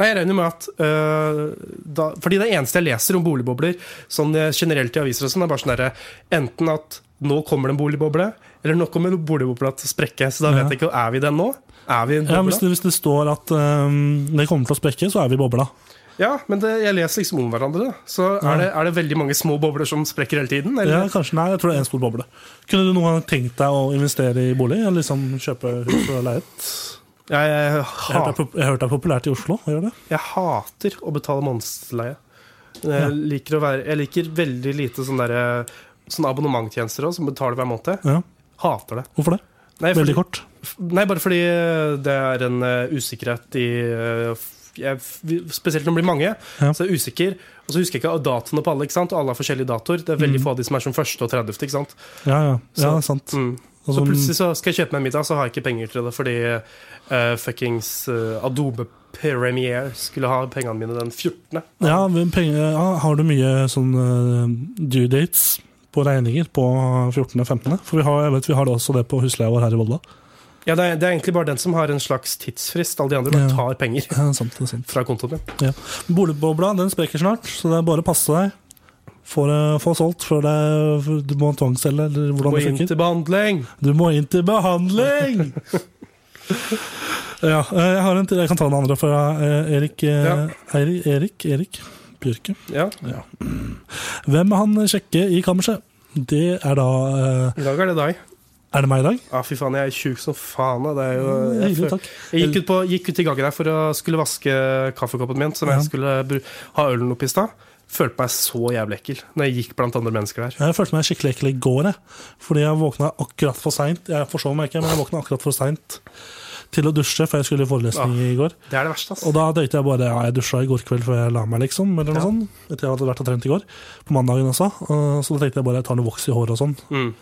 S1: Nei, jeg regner med at øh, da, Fordi det eneste jeg leser om boligbobler Sånn eh, generelt i aviser og sånn, er bare sånn derre Enten at nå kommer det en boligboble, eller nå kommer boligbobla til å sprekke. Så da
S2: Ja.
S1: vet jeg ikke Er vi i den nå? Er vi i en
S2: Ja, hvis,
S1: boble?
S2: det, hvis det står at ehm, det kommer til å sprekke, så er vi i bobla.
S1: Ja, men det, jeg leser liksom om hverandre. da. Så
S2: Ja.
S1: er det, er det veldig mange små bobler som sprekker hele tiden?
S2: Ja,
S1: Eller?
S2: kanskje, nei, jeg tror det er en stor boble. Kunne du noen gang tenkt deg å investere i bolig? Eller liksom kjøpe hus og leilighet?
S1: Jeg, jeg,
S2: Jeg hørte det er
S1: hat,
S2: pop- jeg hørte det er populært i Oslo å gjøre det.
S1: jeg hater å betale månedsleie. Jeg, liker å være, jeg liker veldig lite sånn derre Sånn abonnementtjenester også, som betaler hver måned.
S2: Ja.
S1: Hater det.
S2: Hvorfor det?
S1: Nei, fordi-
S2: Veldig kort.
S1: F- Nei, bare fordi eh, det er en eh, usikkerhet i eh, f- jeg, f- vi- Spesielt når det blir mange,
S2: Ja.
S1: så er jeg usikker. Og så husker jeg ikke datoene på alle, ikke sant? og alle har forskjellige datoer. Det er veldig
S2: Mm.
S1: få av de som er som første og 30. Ikke sant?
S2: Ja, ja. ja
S1: Så-
S2: det er sant.
S1: Mm.
S2: Og
S1: Så
S2: sånn-
S1: plutselig så skal jeg kjøpe meg en middag, så har jeg ikke penger til det fordi eh, fuckings eh, Adobe Premiere skulle ha pengene mine den 14.
S2: ja, men penger, ja, har du mye sånn eh, due dates på regninger på 14. og 15.? For vi har, jeg vet, vi har det også det på husleia vår her i Volda.
S1: Ja, det er, det er egentlig bare den som har en slags tidsfrist. Alle de andre bare
S2: Ja.
S1: tar penger
S2: Ja, det er sant, det er sant.
S1: fra kontoen min.
S2: Boligbobla den spreker snart, så det er bare å passe deg. Få, det- få solgt før det, før du må tvangsselge, eller hvordan
S1: Må
S2: det
S1: inn
S2: funker.
S1: til behandling!
S2: Du må inn til behandling! ja, eh, jeg, har en til, jeg kan ta den andre fra eh, Erik, eh,
S1: Ja.
S2: Eiri- Erik Erik Bjørke.
S1: Ja,
S2: Hvem er han kjekke i kammerset? Det er da eh,
S1: i dag er det deg.
S2: Er det meg i dag?
S1: Ja, fy faen, jeg er tjukk som faen. da. Det er jo, Eh, jeg,
S2: Hyggelig,
S1: føler-
S2: takk.
S1: jeg gikk ut, på, gikk ut i gangen her for å skulle vaske kaffekoppen min, som
S2: Ja.
S1: jeg skulle bru- ha ølen oppi i stad. Følte meg så jævlig ekkel når jeg gikk blant andre mennesker der.
S2: Jeg følte meg skikkelig ekkel i går, jeg. Fordi jeg våkna akkurat for seint. Jeg forsov meg ikke, men jeg våkna akkurat for seint til å dusje, for jeg skulle i forelesning i går.
S1: Det er det verste, ass.
S2: Og da tenkte jeg bare ja, jeg dusja i går kveld før jeg la meg, liksom. Eller noe
S1: Ja.
S2: sånt. Etter jeg hadde vært og trent i går. På mandagen også. Eh, Så da tenkte jeg bare jeg tar noe voks i håret og sånn.
S1: Mm.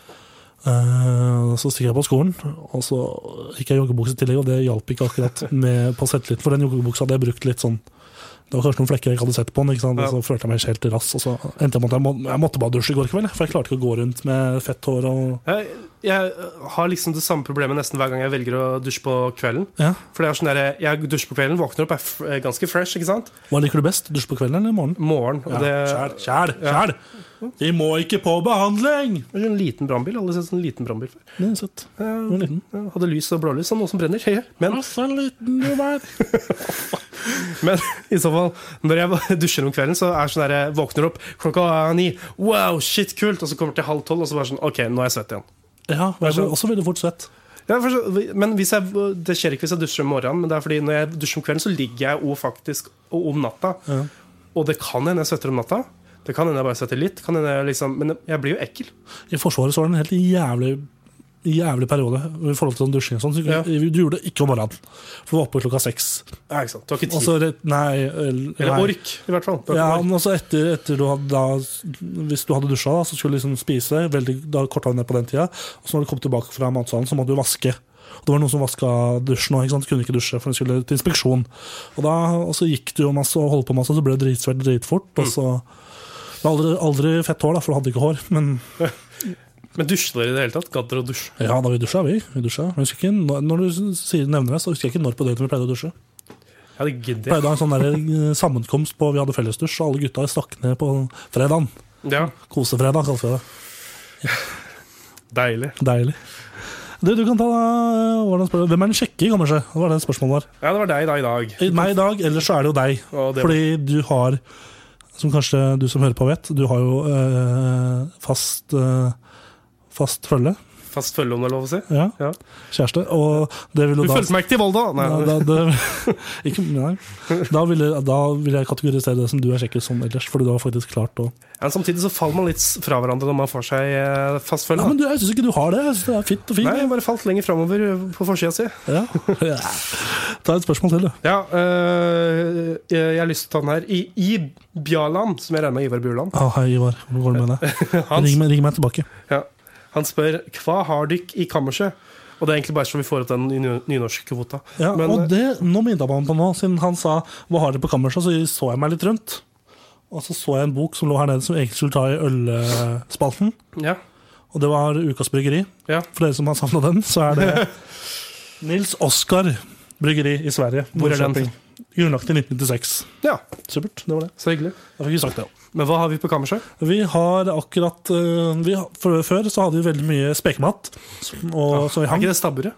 S2: Eh, Så stikker jeg på skolen, og så gikk jeg i joggebukse i tillegg, og det hjalp ikke akkurat med på selvtillit. For den joggebuksa hadde jeg brukt litt sånn Det var kanskje noen flekker jeg ikke hadde sett på den, ikke sant? og så følte jeg meg helt rass. Og så endte jeg med at jeg, må, jeg måtte bare dusje i går kveld, jeg, for jeg klarte ikke å gå rundt med fett hår og
S1: Jeg, jeg har liksom det samme problemet nesten hver gang jeg velger å dusje på kvelden.
S2: ja.
S1: For det er sånn der, Jeg dusjer på kvelden, våkner opp, er f øh, ganske fresh, ikke sant?
S2: Hva liker du best? Dusje på kvelden eller i morgen?
S1: Morgen. Og
S2: Ja,
S1: det
S2: Kjæl, kjæl,
S1: Ja.
S2: kjæl! Vi må ikke på behandling!
S1: Det er en liten brannbil. Alle har sett en liten brannbil før.
S2: Det er søtt.
S1: Jeg
S2: Du er liten.
S1: Hadde lys og blålys, og noe som brenner. Men
S2: Å, så liten du er.
S1: Men i så fall, når jeg dusjer om kvelden, så er det sånn der, jeg våkner opp klokka er ni. Wow, shit, kult! Og så kommer det til halv tolv, og så bare sånn OK, nå er jeg svett igjen.
S2: Ja, jeg
S1: Altså-
S2: blir også veldig fort svett.
S1: Ja, for så, men hvis jeg, Det skjer ikke hvis jeg dusjer om morgenen, men det er fordi når jeg dusjer om kvelden, så ligger jeg og faktisk og om natta.
S2: Ja.
S1: Og det kan hende jeg svetter om natta. Det kan hende jeg bare svetter litt. Kan hende jeg liksom, men jeg blir jo ekkel.
S2: I Forsvaret så var det en helt jævlig Jævlig periode i forhold til sånn dusjing. og Sånn. Så
S1: Ja.
S2: Du gjorde det ikke om morgenen, for du var oppe klokka seks.
S1: Ja, ikke sant? Du har ikke
S2: Og
S1: tid.
S2: så rett- Nei. el-
S1: Eller
S2: nei.
S1: ork, i hvert fall. Du har
S2: Ja,
S1: ikke ork.
S2: men også etter, etter du hadde da, Hvis du hadde dusja, da, så skulle du liksom spise. Veldig, da korta du ned på den tida. Og så når du kom tilbake fra matsalen, så måtte du vaske. Og det var noen som vaska dusjen òg. Kunne ikke dusje, for den skulle til inspeksjon. Og, da, og så gikk du jo masse og holdt på masse, og så ble du dritsvett dritfort.
S1: Mm.
S2: Og så Det var aldri, aldri fett hår, da, for du hadde ikke hår. Men
S1: Men dusjer dere i det hele tatt? Gadd dere å dusje?
S2: ja, da vi dusja, vi. vi dusja. Jeg husker ikke, når- når du sier, nevner det, så husker jeg ikke når på døgnet vi pleide å dusje.
S1: Ja, det gidder
S2: Pleide
S1: jeg.
S2: å ha en sånn der, eh, sammenkomst på Vi hadde fellesdusj, og alle gutta stakk ned på fredagen.
S1: Ja,
S2: Kosefredag, kalte vi det.
S1: deilig.
S2: Deilig. Du, du kan ta da, hvordan spør du? Hvem er den kjekke i kammerset? Det var det spørsmålet var.
S1: Ja, det var deg da i dag.
S2: I- Meg i dag, ellers så er det jo deg.
S1: Og det,
S2: Fordi du har, som kanskje du som hører på vet, du har jo eh, fast, eh, fast følge.
S1: Fast følge, om det er lov å si.
S2: Ja.
S1: Ja.
S2: Kjæreste. Og det vil
S1: Du
S2: jo da
S1: fulgte meg ikke til Volda! Nei,
S2: Ja, da, det, ikke, nei. Da, ville, da vil jeg kategorisere det som du er kjekkest som ellers, fordi du har faktisk klart å
S1: Ja, men samtidig så faller man litt fra hverandre når man får seg eh, fast følge.
S2: Ja,
S1: da.
S2: men du, jeg syns ikke du har det. Jeg synes det er fint og
S1: Nei,
S2: fint.
S1: jeg bare falt lenger framover eh, på forsida si.
S2: Ja. Ja. Ta et spørsmål til, du.
S1: Ja, øh, jeg, jeg har lyst til å ta den her. I, I Bjaland, som jeg regner med er Ivar Bjuland,
S2: Ah, hei, Ivar. Hvordan går det med deg?
S1: Hans.
S2: Ring meg, ring meg tilbake.
S1: han spør Hva har dykk i kammerset? Og det er egentlig bare så vi får opp den ny- nynorskkvota.
S2: Ja,
S1: Men eh,
S2: og det, nå minnet man på nå, siden han sa 'hva har dere på kammerset', så så jeg meg litt rundt. Og så så jeg en bok som lå her nede som egentlig skulle ta i ølspalten.
S1: ja,
S2: Og det var Ukas Bryggeri.
S1: ja.
S2: For dere som har savna den, så er det Nils Oskar Bryggeri i Sverige.
S1: Hvor er den?
S2: Norrköping. Grunnlagt i 1996.
S1: ja,
S2: Supert. Det var det.
S1: så hyggelig.
S2: Da fikk vi sagt det òg.
S1: Men hva har vi på kammerset?
S2: Vi har akkurat eh, vi, har- for, Før så hadde vi veldig mye spekemat. Og, så vi
S1: Er
S2: hang.
S1: ikke det stabburet?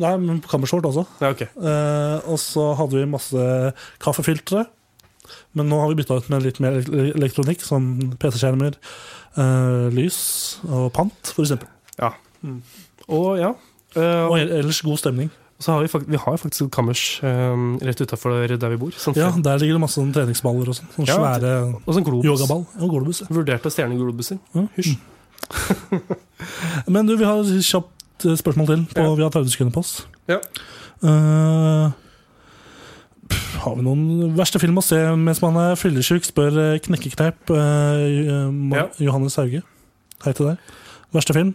S2: Nei, men på kammershort også.
S1: Ja, ok.
S2: Eh, og så hadde vi masse kaffefiltre. Men nå har vi bytta ut med litt mer ele- elektronikk, som PC-skjermer, eh, lys og pant, f.eks.
S1: Ja. Og ja. eh,
S2: Og el- ellers god stemning.
S1: og så har vi, fakt vi har jo faktisk et kammers eh, rett utafor der vi bor. Sånn
S2: Ja, Der ligger det masse sånn treningsballer og sånn. Sånne
S1: Ja,
S2: svære
S1: Og sånn globus.
S2: yogaball. Ja, globus, ja.
S1: Vurderte stjerneglobuser.
S2: Ja.
S1: Hysj.
S2: Mm. Men du, vi har et kjapt eh, spørsmål til. På,
S1: Ja.
S2: Vi har 30 sekunder på oss.
S1: Ja.
S2: Eh, pff, har vi noen verste film å se mens man er fyllesyk? Spør eh, Knekkekneip eh, Ma-
S1: Ja.
S2: Johannes Hauge. Hei til deg. Verste film?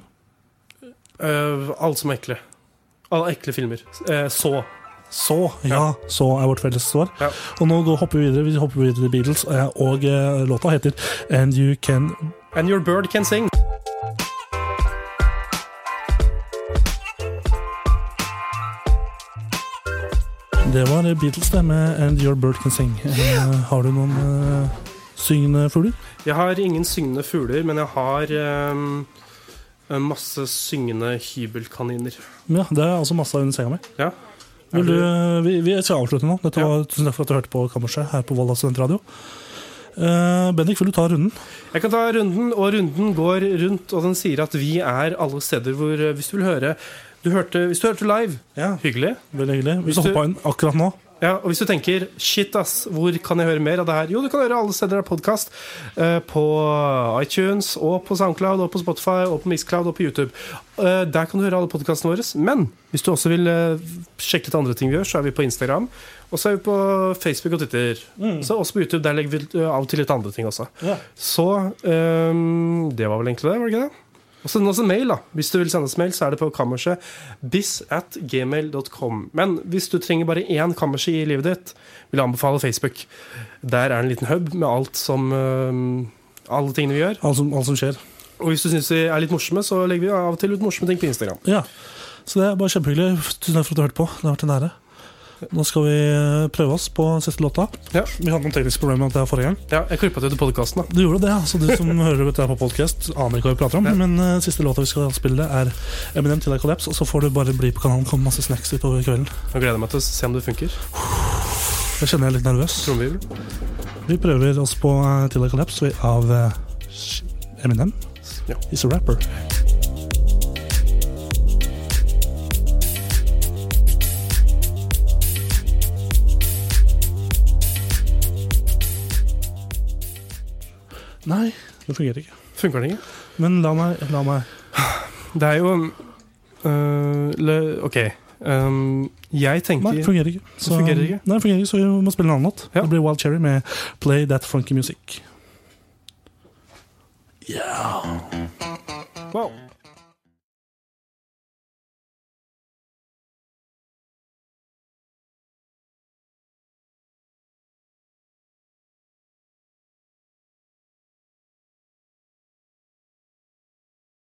S1: Eh, alle som er ekle. Alle ekle filmer. Eh, så.
S2: Så, ja,
S1: Ja.
S2: så er vårt felles svar.
S1: Ja.
S2: Og nå går, hopper vi videre. Vi hopper videre til Beatles, eh, og eh, låta heter And You Can
S1: And your bird can sing.
S2: Det var Beatles, det, med And Your Bird Can Sing. Eh, har du noen eh, syngende fugler?
S1: Jeg har ingen syngende fugler, men jeg har eh, masse syngende hybelkaniner.
S2: Ja, det er altså masse under senga mi.
S1: Ja.
S2: Vil du, eh, vi, vi skal avslutte nå. Dette
S1: Ja.
S2: var, tusen takk for at du hørte på Kammerset her på Volda Studentradio. Eh, Bendik, vil du ta runden?
S1: Jeg kan ta runden, og runden går rundt, og den sier at vi er alle steder hvor eh, Hvis du vil høre du hørte, Hvis du hørte live,
S2: Ja.
S1: hyggelig.
S2: Veldig hyggelig. Hvis du
S1: du-
S2: hoppa inn akkurat nå
S1: Ja, og hvis du tenker shit ass, hvor kan jeg høre mer av det her? Jo, du kan høre alle steder det er podkast. på iTunes og på Soundcloud og på Spotify og på Mixcloud og på YouTube. Eh, der kan du høre alle podkastene våre. Men hvis du også vil eh, sjekke ut andre ting vi gjør, så er vi på Instagram. Og så er vi på Facebook og Twitter. Så også på YouTube. Der legger vi eh, av og til litt andre ting også.
S2: Ja.
S1: Så eh, det var vel egentlig det, var det ikke det? Og send oss en mail, da. Hvis du vil sende oss mail, så er det på kammerset biz at gmail.com. Men hvis du trenger bare én kammerset i livet ditt, vil jeg anbefale Facebook. Der er en liten hub med alt som eh, alle tingene vi gjør.
S2: alt som, alt som skjer.
S1: Og hvis du syns vi er litt morsomme, så legger vi av og til ut morsomme ting på Instagram.
S2: Ja, så det er bare kjempehyggelig. Tusen takk for at du hørte på. Det har vært en ære. Nå skal vi eh, prøve oss på siste låta.
S1: Ja.
S2: Vi hadde noen tekniske problemer med dette her forrige gang.
S1: Ja, jeg klippa til podkasten, da.
S2: Du gjorde det, ja. så du som hører dette her på podcast aner ikke hva vi prater om. Men eh, siste låta vi skal spille, er Eminem til deg kollaps. Og så får du bare bli på kanalen, komme masse snacks utover kvelden.
S1: Jeg gleder meg til å se om det funker.
S2: Jeg kjenner jeg er litt nervøs.
S1: Trommevirvel.
S2: Vi prøver oss på eh, til deg kollaps vi, av eh, Eminem.
S1: Ja.
S2: He's a rapper. Nei, det fungerer ikke.
S1: Funker den ikke?
S2: Men la meg, la meg.
S1: Det er jo øh, le, Ok. Ehm, jeg
S2: Nei,
S1: tenker
S2: det fungerer ikke.
S1: Det fungerer ikke?
S2: Nei, det fungerer ikke, så vi må spille en annen låt.
S1: Ja.
S2: Det blir Wild Cherry med Play That Funky Music.
S1: wow.